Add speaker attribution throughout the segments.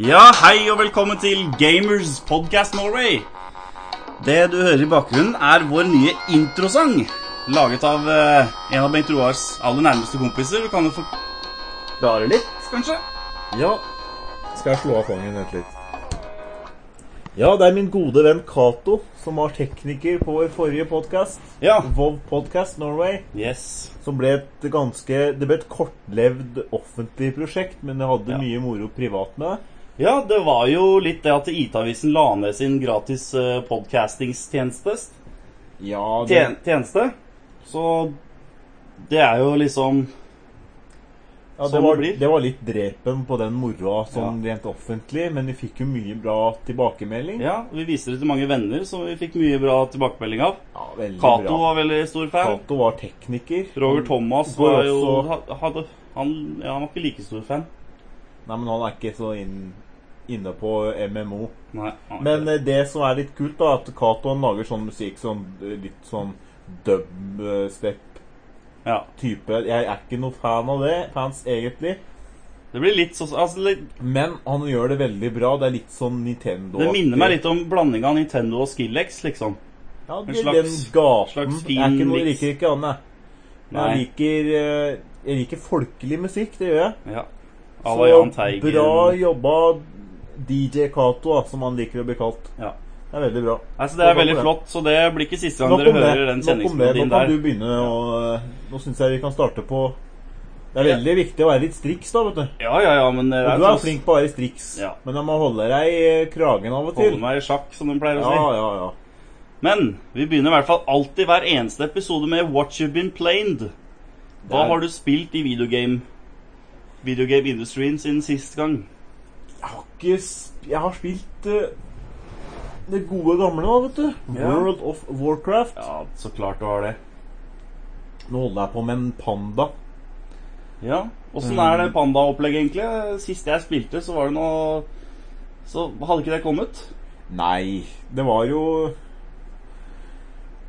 Speaker 1: Ja, hei og velkommen til Gamers Podcast Norway. Det du hører i bakgrunnen, er vår nye introsang. Laget av eh, en av Bengt Roars aller nærmeste kompiser. Du kan jo forklare litt, kanskje?
Speaker 2: Ja. Skal jeg slå av fangen? Vent litt. Ja, det er min gode venn Cato, som var tekniker på vår forrige podkast.
Speaker 1: Ja.
Speaker 2: Vov Podcast Norway.
Speaker 1: Yes.
Speaker 2: Som ble et ganske Det ble et kortlevd offentlig prosjekt, men det hadde
Speaker 1: Ja.
Speaker 2: mye moro privat med det.
Speaker 1: Ja, det var jo litt det at IT-avisen la ned sin gratis eh, podcastingstjeneste.
Speaker 2: Ja, det,
Speaker 1: Tjen tjeneste. Så det er jo liksom
Speaker 2: ja,
Speaker 1: sånn
Speaker 2: det, var,
Speaker 1: det blir.
Speaker 2: det var litt drepen på den moroa sånn rent offentlig, men vi fikk jo mye bra tilbakemelding.
Speaker 1: Ja, vi viste det til mange venner, som vi fikk mye bra tilbakemelding av.
Speaker 2: Ja, veldig
Speaker 1: Cato
Speaker 2: bra.
Speaker 1: var veldig stor fan.
Speaker 2: Cato var tekniker.
Speaker 1: Roger Thomas
Speaker 2: Går
Speaker 1: var jo
Speaker 2: også-
Speaker 1: ha- hadde, han, ja, han var ikke like stor fan.
Speaker 2: Nei, men han er ikke så inn, inne på MMO.
Speaker 1: Nei, han var
Speaker 2: Men
Speaker 1: ikke det.
Speaker 2: eh, det som er litt kult, da, er at Cato han lager sånn musikk sånn eh, litt sånn dubstep-type.
Speaker 1: ja.
Speaker 2: Jeg er ikke noe fan av det, fans egentlig,
Speaker 1: Det blir litt sånn altså, litt,
Speaker 2: men han gjør det veldig bra. Det er litt sånn Nintendo.
Speaker 1: Det minner meg litt om blanding av Nintendo og Skillex, liksom.
Speaker 2: Ja, det,
Speaker 1: en slags-
Speaker 2: den gaten.
Speaker 1: slags fin
Speaker 2: jeg er ikke noe,
Speaker 1: mix.
Speaker 2: liker ikke Anne. Men jeg
Speaker 1: Nei.
Speaker 2: liker, eh, jeg liker folkelig musikk, det gjør jeg.
Speaker 1: Ja. À la Jahn Teigen.
Speaker 2: bra jobba DJ Cato, da, som han liker å bli kalt.
Speaker 1: Ja.
Speaker 2: Det er veldig bra.
Speaker 1: Nei, så det er
Speaker 2: Nok om
Speaker 1: veldig
Speaker 2: det.
Speaker 1: flott, så det blir ikke siste gang
Speaker 2: Nok
Speaker 1: dere
Speaker 2: om det.
Speaker 1: hører den
Speaker 2: Nok om det. Nå
Speaker 1: kjenningsmelodien
Speaker 2: kan
Speaker 1: der.
Speaker 2: du begynne å eh, Nå syns jeg vi kan starte på Det er
Speaker 1: Ja.
Speaker 2: veldig viktig å være litt striks, da, vet du.
Speaker 1: Ja, ja, ja, men eh, det
Speaker 2: Og du er flink på å være striks,
Speaker 1: Ja.
Speaker 2: men jeg må holde deg i kragen av og til.
Speaker 1: Holde meg i sjakk, som de pleier å
Speaker 2: Ja,
Speaker 1: si.
Speaker 2: ja, ja.
Speaker 1: Men vi begynner i hvert fall alltid hver eneste episode med What You've Been Planed. Hva
Speaker 2: Der.
Speaker 1: har du spilt i videogame Videogame industrien siden sist gang?
Speaker 2: Jeg har ikke sp Jeg har spilt eh, det gode gamle, da, vet du.
Speaker 1: Ja.
Speaker 2: World of Warcraft.
Speaker 1: Ja, så klart du har det.
Speaker 2: Nå holder jeg på med en panda.
Speaker 1: Ja, Åssen er det pandaopplegget, egentlig? Sist jeg spilte, så var det noe Så hadde ikke det kommet.
Speaker 2: Nei, det var jo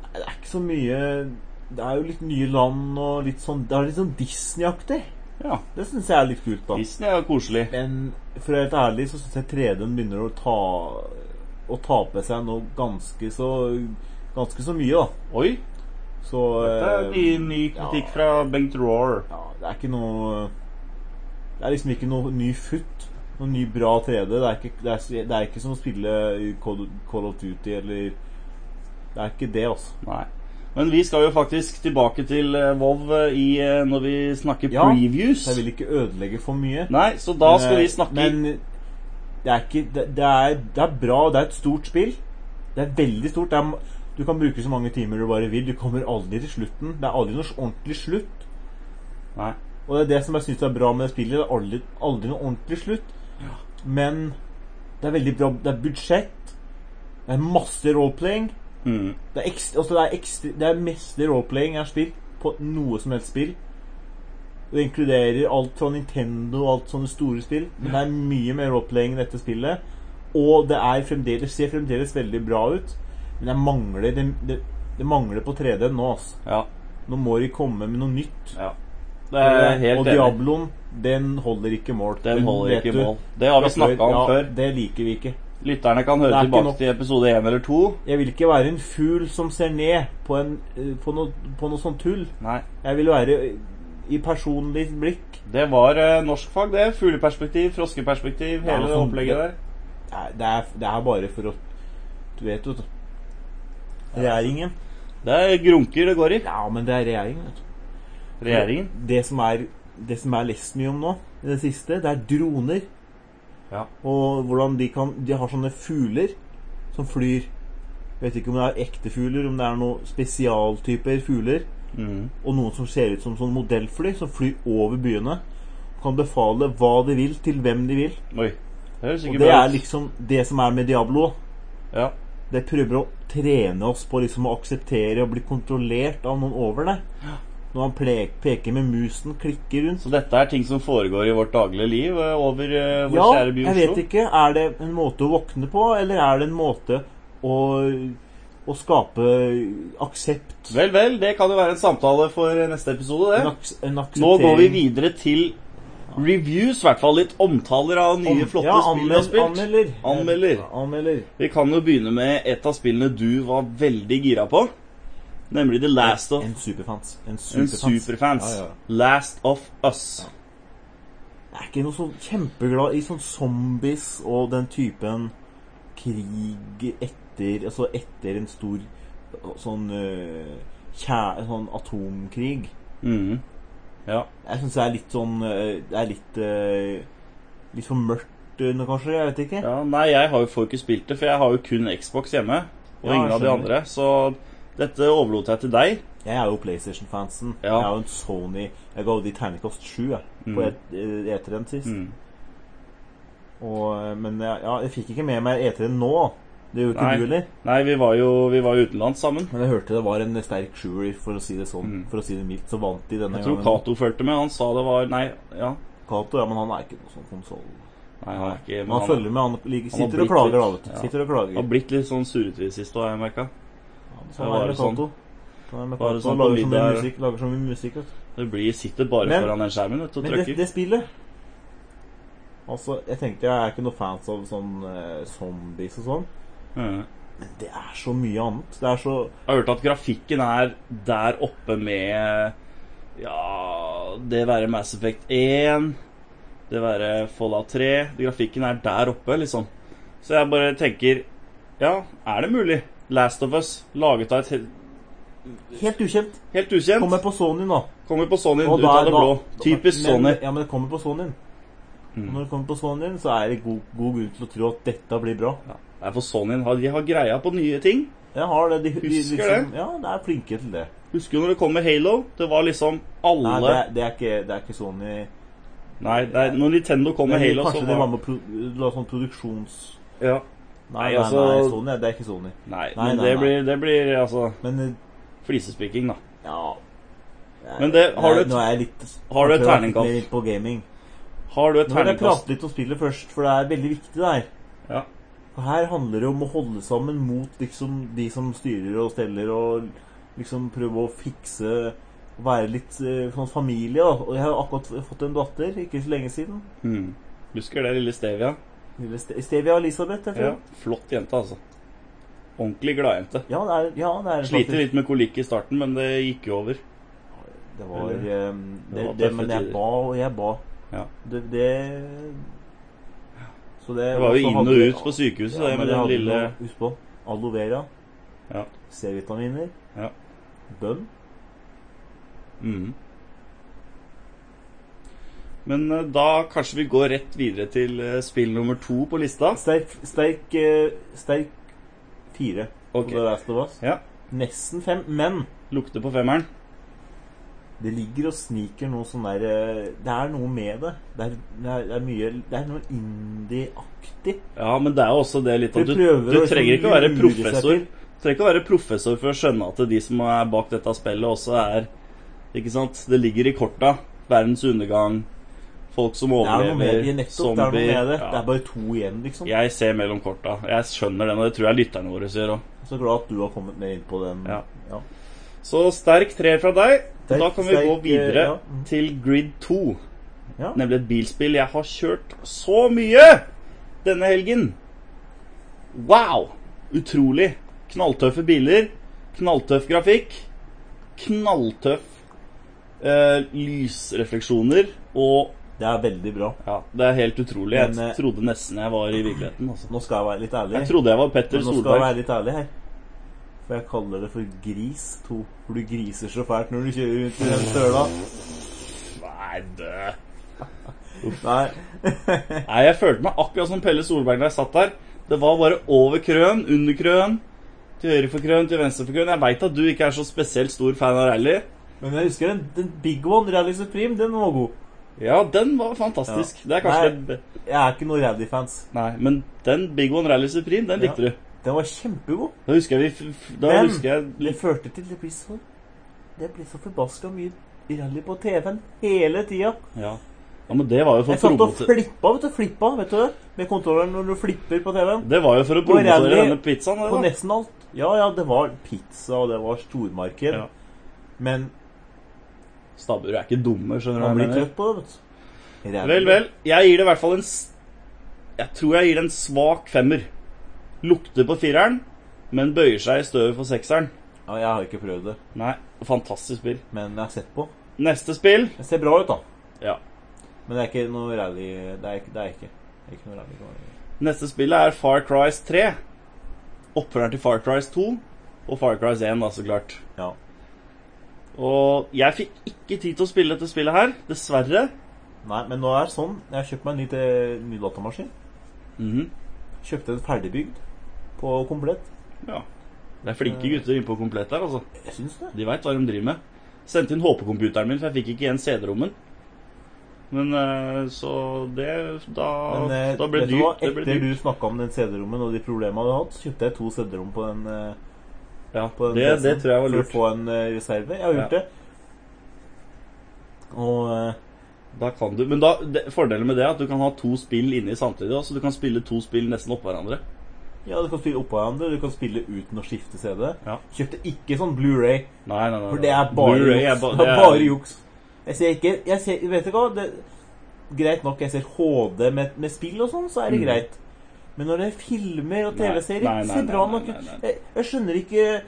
Speaker 2: Nei, Det er ikke så mye Det er jo litt nye land og litt sånn Det er litt sånn Disney-aktig.
Speaker 1: Ja,
Speaker 2: Det syns jeg er litt kult, da.
Speaker 1: Disney er jo koselig.
Speaker 2: Men for å være helt ærlig så syns jeg 3D-en begynner å ta Å tape seg nå ganske så Ganske så mye, da.
Speaker 1: Oi! Eh,
Speaker 2: Så eh,
Speaker 1: Det er ny, ny kritikk fra Bengt Roar.
Speaker 2: ja, det er ikke noe Det er liksom ikke noe ny futt. Noe ny bra 3D. Det er ikke, det er, det er ikke som å spille i Call Call of Duty eller Det er ikke det, altså.
Speaker 1: Nei. Men vi skal jo faktisk tilbake til eh, WoW eh, i, eh, når vi snakker
Speaker 2: Ja,
Speaker 1: previews.
Speaker 2: Jeg vil ikke ødelegge for mye.
Speaker 1: Nei, så da skal vi snakke
Speaker 2: Men det er ikke Det, det, er, det er bra. Det er et stort spill. Det er veldig stort. Det er, ma- du kan bruke så mange timer du bare vil. Du kommer aldri til slutten. Det er aldri noe ordentlig slutt.
Speaker 1: Nei.
Speaker 2: Og det er det som jeg syns er bra med det spillet. Det er aldri, aldri noe ordentlig slutt. Men det er veldig bra. Det er budsjett. Det er masse roleplaying.
Speaker 1: Mm.
Speaker 2: Det er, ekstra, altså det er, ekstra, det er meste roleplaying jeg har spilt på noe som helst spill. Det inkluderer alt fra Nintendo og alt sånne store spill. Men det er mye mer roleplaying i dette spillet. Og det er fremdeles, ser fremdeles veldig bra ut. Men jeg mangler, det, det, det mangler på 3D nå, altså.
Speaker 1: Ja.
Speaker 2: Nå må de komme med noe nytt.
Speaker 1: ja. Det er helt
Speaker 2: og
Speaker 1: enig.
Speaker 2: Diabloen, den holder ikke mål.
Speaker 1: Den holder
Speaker 2: vet
Speaker 1: ikke
Speaker 2: du.
Speaker 1: mål. Det har vi snakka om
Speaker 2: ja,
Speaker 1: før.
Speaker 2: Det liker vi ikke.
Speaker 1: Lytterne kan høre
Speaker 2: Det er ikke
Speaker 1: tilbake
Speaker 2: nok.
Speaker 1: til episode én eller to.
Speaker 2: Jeg vil ikke være en fugl som ser ned på, en, eh, på, noe, på noe sånt tull.
Speaker 1: Nei.
Speaker 2: Jeg vil være i personlig blikk.
Speaker 1: Det var eh, norskfag, det. Fugleperspektiv, froskeperspektiv,
Speaker 2: Ja,
Speaker 1: hele
Speaker 2: sånn-
Speaker 1: opplegget der.
Speaker 2: Nei, Det er, det er bare for å Du vet jo Regjeringen.
Speaker 1: Det er grunker det går i.
Speaker 2: Ja, men det er regjeringen. vet du.
Speaker 1: altså. Regjeringen.
Speaker 2: Det som er Det som er lest mye om nå i det siste, det er droner.
Speaker 1: Ja.
Speaker 2: Og hvordan de kan De har sånne fugler som flyr. Vet ikke om det er ekte fugler, om det er noen spesialtyper fugler.
Speaker 1: Mm.
Speaker 2: og noen som ser ut som sånn modellfly, som flyr over byene. Kan befale hva de vil, til hvem de vil.
Speaker 1: Oi. Det høres
Speaker 2: Og
Speaker 1: ikke
Speaker 2: det
Speaker 1: bra
Speaker 2: er
Speaker 1: ut.
Speaker 2: liksom det som er med Diablo.
Speaker 1: Ja.
Speaker 2: Det prøver å trene oss på liksom å akseptere og bli kontrollert av noen over det. Når han ple- peker med musen, klikker rundt
Speaker 1: Så dette er ting som foregår i vårt daglige liv eh, over eh, vår
Speaker 2: Ja,
Speaker 1: kjære by
Speaker 2: jeg vet
Speaker 1: Oslo?
Speaker 2: ikke. Er det en måte å våkne på, eller er det en måte å, å skape aksept?
Speaker 1: Vel, vel. Det kan jo være en samtale for eh, neste episode,
Speaker 2: En,
Speaker 1: det.
Speaker 2: aks en
Speaker 1: Nå går vi
Speaker 2: akseptering.
Speaker 1: videre til Reviews, i hvert fall. Litt omtaler av nye, flotte
Speaker 2: ja,
Speaker 1: spill du har spilt.
Speaker 2: Anmelder.
Speaker 1: Anmelder.
Speaker 2: Anmelder.
Speaker 1: Vi kan jo begynne med et av spillene du var veldig gira på. Nemlig The Last of
Speaker 2: En superfans. En
Speaker 1: En
Speaker 2: superfans.
Speaker 1: superfans.
Speaker 2: Ja, ja.
Speaker 1: Last of Us.
Speaker 2: Jeg er ikke noe sånn kjempeglad i sånn zombies og den typen krig etter Altså etter en stor sånn eh, kjæ, sånn atomkrig.
Speaker 1: Mhm. Ja.
Speaker 2: Jeg syns det er litt sånn eh, Det er litt eh, Litt for mørkt eh, nå, kanskje. Jeg vet ikke.
Speaker 1: ja. Nei, jeg har jo får ikke spilt det, for jeg har jo kun Xbox hjemme. Og
Speaker 2: Ja, jeg
Speaker 1: ingen av de
Speaker 2: skjønner.
Speaker 1: andre. Så dette overlot jeg til deg.
Speaker 2: Jeg er jo PlayStation-fansen.
Speaker 1: Ja.
Speaker 2: Jeg er jo en Sony Jeg ga jo de terningkast sju jeg, på
Speaker 1: Mm.
Speaker 2: E- eh, E3-en sist.
Speaker 1: Mm.
Speaker 2: Og, eh, men jeg, ja, jeg fikk ikke med meg E3-en nå. Det gjorde
Speaker 1: Nei.
Speaker 2: ikke du heller.
Speaker 1: Nei, vi var jo vi var jo utenlands sammen.
Speaker 2: Men jeg hørte det var en sterk sjuer, for å si det sånn.
Speaker 1: Mm.
Speaker 2: For å si det mildt, så vant de denne
Speaker 1: Jeg tror Cato fulgte med. Han sa det var Nei, ja.
Speaker 2: Kato, ja, men han er ikke noe sånn konsoll.
Speaker 1: Nei, han er ikke men
Speaker 2: Han
Speaker 1: han,
Speaker 2: følger med, han ligger,
Speaker 1: han har
Speaker 2: sitter og
Speaker 1: blitt
Speaker 2: klager, da,
Speaker 1: litt-
Speaker 2: vet du.
Speaker 1: ja.
Speaker 2: Sitter og
Speaker 1: han har
Speaker 2: klager.
Speaker 1: blitt litt sånn surrete i det siste, har jeg merka.
Speaker 2: Ja, men
Speaker 1: Ja,
Speaker 2: Sånn
Speaker 1: var
Speaker 2: er det
Speaker 1: det
Speaker 2: med Kato. Sånn er det med
Speaker 1: Var det
Speaker 2: Kato.
Speaker 1: sånn
Speaker 2: Han
Speaker 1: på
Speaker 2: lager så mye
Speaker 1: middag-
Speaker 2: musikk, lager så mye musikk, vet du.
Speaker 1: Det blir sitter bare
Speaker 2: Men-
Speaker 1: foran den skjermen vet du, og
Speaker 2: Men det,
Speaker 1: trykker.
Speaker 2: det spillet Altså, jeg tenkte jeg er ikke noe fans av sånn eh, zombies og sånn.
Speaker 1: Mhm.
Speaker 2: Men det er så mye annet. Det er så
Speaker 1: Jeg har hørt at grafikken er der oppe med Ja Det være Mass Effect 1, det være Fallout 3 Grafikken er der oppe, liksom. Så jeg bare tenker Ja, er det mulig? Last of Us, laget av et he-
Speaker 2: helt ukjent.
Speaker 1: helt ukjent,
Speaker 2: Kommer på Sony nå.
Speaker 1: kommer på Sony
Speaker 2: Og
Speaker 1: ut
Speaker 2: da-
Speaker 1: av det
Speaker 2: da-
Speaker 1: blå. Typisk
Speaker 2: men,
Speaker 1: Sony.
Speaker 2: Ja, men det kommer på Sonyen.
Speaker 1: Mm.
Speaker 2: Og Når det kommer på Sonyen, så er det god, god grunn til å tro at dette blir bra.
Speaker 1: Ja. Det er for Sony har- de har greia på nye ting.
Speaker 2: Jeg har det. De, de,
Speaker 1: Husker
Speaker 2: liksom, Ja, de er flinke til det.
Speaker 1: Husker du når det kom med Halo? Det var liksom alle Nei,
Speaker 2: Nei, det, er- det, er, ikke, det er ikke Sony
Speaker 1: det er- når Nintendo kom med
Speaker 2: Men
Speaker 1: Halo, så
Speaker 2: Kanskje de var
Speaker 1: var
Speaker 2: med pro, la sånn produksjons...
Speaker 1: ja.
Speaker 2: Nei,
Speaker 1: Nei,
Speaker 2: nei,
Speaker 1: altså-
Speaker 2: nei, Sony, det er ikke Sony.
Speaker 1: Nei,
Speaker 2: Nei,
Speaker 1: men
Speaker 2: nei,
Speaker 1: det,
Speaker 2: nei.
Speaker 1: Blir, det blir altså
Speaker 2: Men eh,
Speaker 1: flisespikking, da.
Speaker 2: ja Jeg-
Speaker 1: Men det- har du
Speaker 2: jeg-
Speaker 1: et-
Speaker 2: Nå er jeg litt
Speaker 1: har du et
Speaker 2: jeg tror jeg er litt
Speaker 1: terningkast?
Speaker 2: mer inn på gaming.
Speaker 1: Har du et
Speaker 2: Nå vil jeg
Speaker 1: terningkast?
Speaker 2: prate litt om spillet først, for det er veldig viktig der.
Speaker 1: Ja.
Speaker 2: For her handler det om å holde sammen mot liksom de som styrer og steller, og liksom prøve å fikse Være litt eh, sånn familie, da. Og jeg har jo akkurat fått en datter, ikke så lenge siden.
Speaker 1: Mm. Husker det lille Stevia?
Speaker 2: Lille Ste- Stevia Elisabeth, jeg tror.
Speaker 1: Ja. Flott jente, altså. Ordentlig gladjente.
Speaker 2: Ja, det er, ja, det er
Speaker 1: Sliter litt med kolikk i starten, men det gikk jo over.
Speaker 2: Det var,
Speaker 1: Eller-
Speaker 2: eh, det,
Speaker 1: var
Speaker 2: det,
Speaker 1: tøffe
Speaker 2: men jeg
Speaker 1: tider.
Speaker 2: ba og jeg ba.
Speaker 1: Ja.
Speaker 2: Det, det Så det
Speaker 1: Det var
Speaker 2: så
Speaker 1: jo inn
Speaker 2: hadde
Speaker 1: og
Speaker 2: vi-
Speaker 1: ut på sykehuset,
Speaker 2: Ja,
Speaker 1: det
Speaker 2: men
Speaker 1: med
Speaker 2: det
Speaker 1: den
Speaker 2: hadde
Speaker 1: lille
Speaker 2: noe- Husk på aloe vera,
Speaker 1: Ja.
Speaker 2: C-vitaminer,
Speaker 1: Ja.
Speaker 2: bønn.
Speaker 1: Mhm. Men eh, da kanskje vi går rett videre til eh, spill nummer to på lista.
Speaker 2: Sterk, sterk, eh, sterk fire på
Speaker 1: Ok,
Speaker 2: The Last of Us.
Speaker 1: Ja.
Speaker 2: Nesten fem, men
Speaker 1: Lukter på femmeren.
Speaker 2: det ligger og sniker noe sånn der eh, Det er noe med det. Det er, det er, det er mye Det er noe indie-aktig.
Speaker 1: Ja, men det er jo også det litt
Speaker 2: Vi
Speaker 1: at du,
Speaker 2: prøver
Speaker 1: du
Speaker 2: å liksom
Speaker 1: trenger ikke å være
Speaker 2: lure seg
Speaker 1: professor
Speaker 2: til.
Speaker 1: Du trenger ikke å være professor for å skjønne at de som er bak dette spillet, også er Ikke sant? Det ligger i korta. Verdens undergang, folk som
Speaker 2: Det er noe med
Speaker 1: overlever,
Speaker 2: det. Nettopp, det er noe
Speaker 1: zombier
Speaker 2: med det.
Speaker 1: Ja.
Speaker 2: Det er bare to igjen, liksom.
Speaker 1: Jeg ser mellom korta. Jeg skjønner den, og det tror jeg lytterne våre gjør òg.
Speaker 2: Så glad at du har kommet mer inn på den.
Speaker 1: Ja. Så sterk treer fra deg.
Speaker 2: Sterk-
Speaker 1: da kan vi
Speaker 2: sterk,
Speaker 1: gå videre
Speaker 2: eh, ja. Mhm.
Speaker 1: til Grid 2.
Speaker 2: Ja.
Speaker 1: Nemlig et bilspill jeg har kjørt så mye denne helgen. Wow! Utrolig. Knalltøffe biler. Knalltøff grafikk. Knalltøff eh, lysrefleksjoner. Og
Speaker 2: Det er veldig bra.
Speaker 1: ja, det er helt utrolig. Jeg
Speaker 2: Men, eh,
Speaker 1: trodde nesten jeg var i virkeligheten. Altså.
Speaker 2: Nå skal jeg være litt ærlig.
Speaker 1: Jeg trodde jeg var Petter
Speaker 2: Men nå skal jeg
Speaker 1: Solberg.
Speaker 2: være litt ærlig her. For jeg kaller det for Gris 2. For du griser så fælt når du kjører rundt i den søla.
Speaker 1: Nei, dø.
Speaker 2: Nei.
Speaker 1: Nei, jeg følte meg akkurat som Pelle Solberg da jeg satt der. Det var bare over krøen, under krøen, til høyre for krøen, til venstre for krøen. Jeg veit at du ikke er så spesielt stor fan av rally.
Speaker 2: Men jeg husker den, den Big One, Rally Supreme, den var god.
Speaker 1: Ja, den var fantastisk.
Speaker 2: Ja.
Speaker 1: Det er kanskje
Speaker 2: Nei.
Speaker 1: det be-
Speaker 2: Jeg er ikke noen Rally-fans.
Speaker 1: Nei, men den Big One Rally Supreme, den
Speaker 2: Ja.
Speaker 1: likte du.
Speaker 2: Den var kjempegod.
Speaker 1: Da husker jeg vi f- f- Da
Speaker 2: Men-
Speaker 1: husker jeg
Speaker 2: Det førte til Det ble så, det ble så forbaska mye rally på TV-en hele tida.
Speaker 1: ja. ja, men det var jo for
Speaker 2: Jeg
Speaker 1: å
Speaker 2: satt og
Speaker 1: promote
Speaker 2: flippa, vet du. Flippa, vet du det? Med kontrolleren når du flipper på TV-en.
Speaker 1: Det var jo for å
Speaker 2: På
Speaker 1: promotere
Speaker 2: rally-
Speaker 1: denne pizzaen.
Speaker 2: På
Speaker 1: Det,
Speaker 2: nesten alt. Ja, ja, det var pizza, og det var stormarked.
Speaker 1: Ja.
Speaker 2: Men
Speaker 1: da. Stabburet er ikke dumme, skjønner du
Speaker 2: man
Speaker 1: hva jeg
Speaker 2: blir
Speaker 1: mener.
Speaker 2: trøtt på det, vet du.
Speaker 1: Vel, vel. Jeg gir det i hvert fall en s- Jeg tror jeg gir det en svak femmer. Lukter på fireren, men bøyer seg i støvet for sekseren.
Speaker 2: Ja, jeg har ikke prøvd det,
Speaker 1: Nei, fantastisk spill.
Speaker 2: men jeg har sett på.
Speaker 1: Neste spill
Speaker 2: Det ser bra ut, da.
Speaker 1: Ja.
Speaker 2: Men det er ikke noe rally Det er ikke, det er ikke. Det er ikke noe rally.
Speaker 1: Neste spillet er Far Cries 3. Oppfølgeren til Far Cries 2 og Far Cries 1, da, så klart.
Speaker 2: Ja.
Speaker 1: Og jeg fikk ikke tid til å spille dette spillet her, dessverre.
Speaker 2: Nei, men nå er det sånn. Jeg har kjøpt meg en ny, te- ny datamaskin.
Speaker 1: Mhm.
Speaker 2: Kjøpte en ferdigbygd på komplett.
Speaker 1: Ja. Det er flinke gutter inne på komplett her, altså.
Speaker 2: Jeg syns det.
Speaker 1: De veit hva de driver med. Sendte inn HP-computeren min, for jeg fikk ikke igjen CD-rommen. Men eh, så det Da,
Speaker 2: Men eh,
Speaker 1: da ble
Speaker 2: vet
Speaker 1: det
Speaker 2: du hva?
Speaker 1: dyrt. Det ble
Speaker 2: etter
Speaker 1: dyrt.
Speaker 2: du snakka om den CD-rommen og de problemene du hadde hatt, så kjøpte jeg to CD-rom på den. eh,
Speaker 1: Ja,
Speaker 2: på den
Speaker 1: det,
Speaker 2: PC-en
Speaker 1: det tror jeg var lurt.
Speaker 2: For å få en eh, reserve. Jeg har gjort
Speaker 1: Ja.
Speaker 2: det. Og eh,
Speaker 1: Da kan du, men da, det, fordelen med det er at du kan ha to spill inni samtidig. da, Så du kan spille to spill nesten oppå hverandre.
Speaker 2: ja, du kan spille oppå hverandre, du kan spille uten å skifte CD.
Speaker 1: Ja.
Speaker 2: Kjøpte ikke sånn Blu-ray,
Speaker 1: Nei, nei, nei.
Speaker 2: for
Speaker 1: nei.
Speaker 2: det er bare
Speaker 1: Blu-ray er
Speaker 2: juks.
Speaker 1: ba-
Speaker 2: Det
Speaker 1: det
Speaker 2: er
Speaker 1: er-
Speaker 2: bare juks. Jeg ser ikke jeg ser, Vet du hva? Det, greit nok, jeg ser HD med, med spill og sånn, så er det
Speaker 1: Mm.
Speaker 2: greit. Men når det er filmer og
Speaker 1: Nei,
Speaker 2: TV-serier,
Speaker 1: nei, nei,
Speaker 2: ser
Speaker 1: nei,
Speaker 2: bra
Speaker 1: nei,
Speaker 2: nok ut.
Speaker 1: nei, nei.
Speaker 2: Jeg, jeg skjønner ikke eh,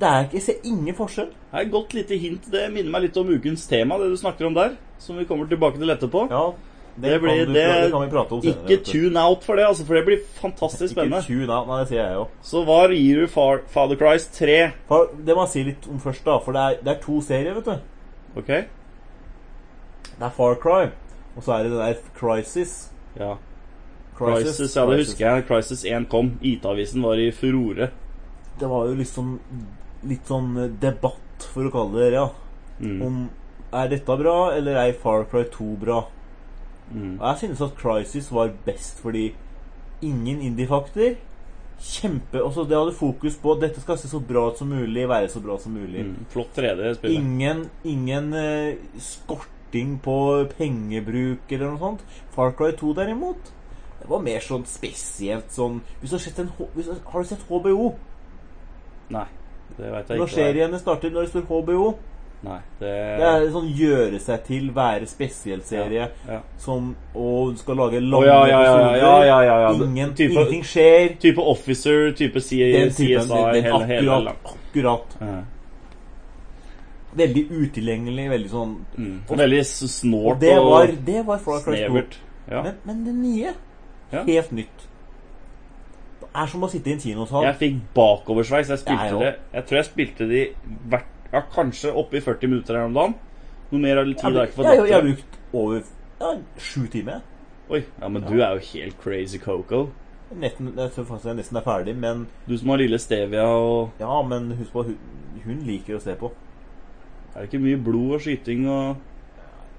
Speaker 2: Det er ikke Jeg ser ingen forskjell.
Speaker 1: Det er et godt lite hint. Det minner meg litt om ukens tema, det du snakker om der. Som vi kommer tilbake til etterpå.
Speaker 2: Ja,
Speaker 1: Det blir-
Speaker 2: kan du,
Speaker 1: det-
Speaker 2: det kan vi prate om senere.
Speaker 1: Ikke
Speaker 2: vet du.
Speaker 1: tune out for det, altså, for det blir fantastisk spennende.
Speaker 2: Ikke tune out, nei, det sier jeg jo.
Speaker 1: Så hva gir du Far, Father Cries 3?
Speaker 2: For det må jeg si litt om først, da. For det er, det er to serier, vet du.
Speaker 1: Ok?
Speaker 2: Det er Far Cry, og så er det den der Crisis.
Speaker 1: Ja. Crisis, ja, det husker jeg. Crisis 1 kom. IT-avisen var i furore.
Speaker 2: Det var jo liksom litt sånn debatt, for å kalle det det, ja.
Speaker 1: Mm.
Speaker 2: Om er dette bra, eller er Far Cry 2 bra?
Speaker 1: Mm.
Speaker 2: Og jeg synes at Crisis var best fordi ingen indie-fakter. Kjempe Også det hadde fokus på dette skal se så bra ut som mulig, være så bra som mulig.
Speaker 1: Mm. Flott 3D-spill.
Speaker 2: Ingen, ingen eh, skorting på pengebruk eller noe sånt. Far Cry 2 derimot, det var mer sånn spesielt sånn hvis du har, sett en, H- hvis, du- har du sett HBO?
Speaker 1: Nei, det veit jeg ikke.
Speaker 2: Når
Speaker 1: hva er.
Speaker 2: seriene starter, når det står HBO
Speaker 1: Nei, det,
Speaker 2: Det er sånn gjøre seg til, være spesiell-serie
Speaker 1: ja.
Speaker 2: som Og du skal lage
Speaker 1: Å,
Speaker 2: lange
Speaker 1: ja, ja, ja, ja, ja, ja, ja, ja.
Speaker 2: episoder. Ingen,
Speaker 1: type,
Speaker 2: ingenting skjer.
Speaker 1: type officer, type C-
Speaker 2: Den
Speaker 1: CSI,
Speaker 2: typen. Den,
Speaker 1: hele, hele
Speaker 2: akkurat,
Speaker 1: langt.
Speaker 2: akkurat.
Speaker 1: Ja.
Speaker 2: Veldig utilgjengelig, veldig sånn
Speaker 1: Mm. Og Veldig s- snålt
Speaker 2: Og det var,
Speaker 1: og
Speaker 2: det var Far Cry 2.
Speaker 1: snevert. Ja.
Speaker 2: Men, men det nye
Speaker 1: Ja.
Speaker 2: Helt nytt. Det er som å sitte i en kinosal.
Speaker 1: Jeg fikk bakoversveis. Jeg spilte
Speaker 2: Jeg òg.
Speaker 1: det Jeg tror jeg spilte det i hvert ja, Kanskje oppe i 40 minutter her om dagen. Noe mer eller tid har
Speaker 2: Jeg har
Speaker 1: jeg ikke
Speaker 2: brukt-
Speaker 1: fått
Speaker 2: jeg har- jeg har
Speaker 1: til.
Speaker 2: brukt over ja, sju timer. jeg.
Speaker 1: Oi, ja, men du er jo helt crazy coco.
Speaker 2: Nesten, jeg tror faktisk jeg nesten er ferdig, men
Speaker 1: Du som har lille Stevia og
Speaker 2: ja, men husk på, hun, hun liker å se på.
Speaker 1: Det er ikke mye blod og skyting og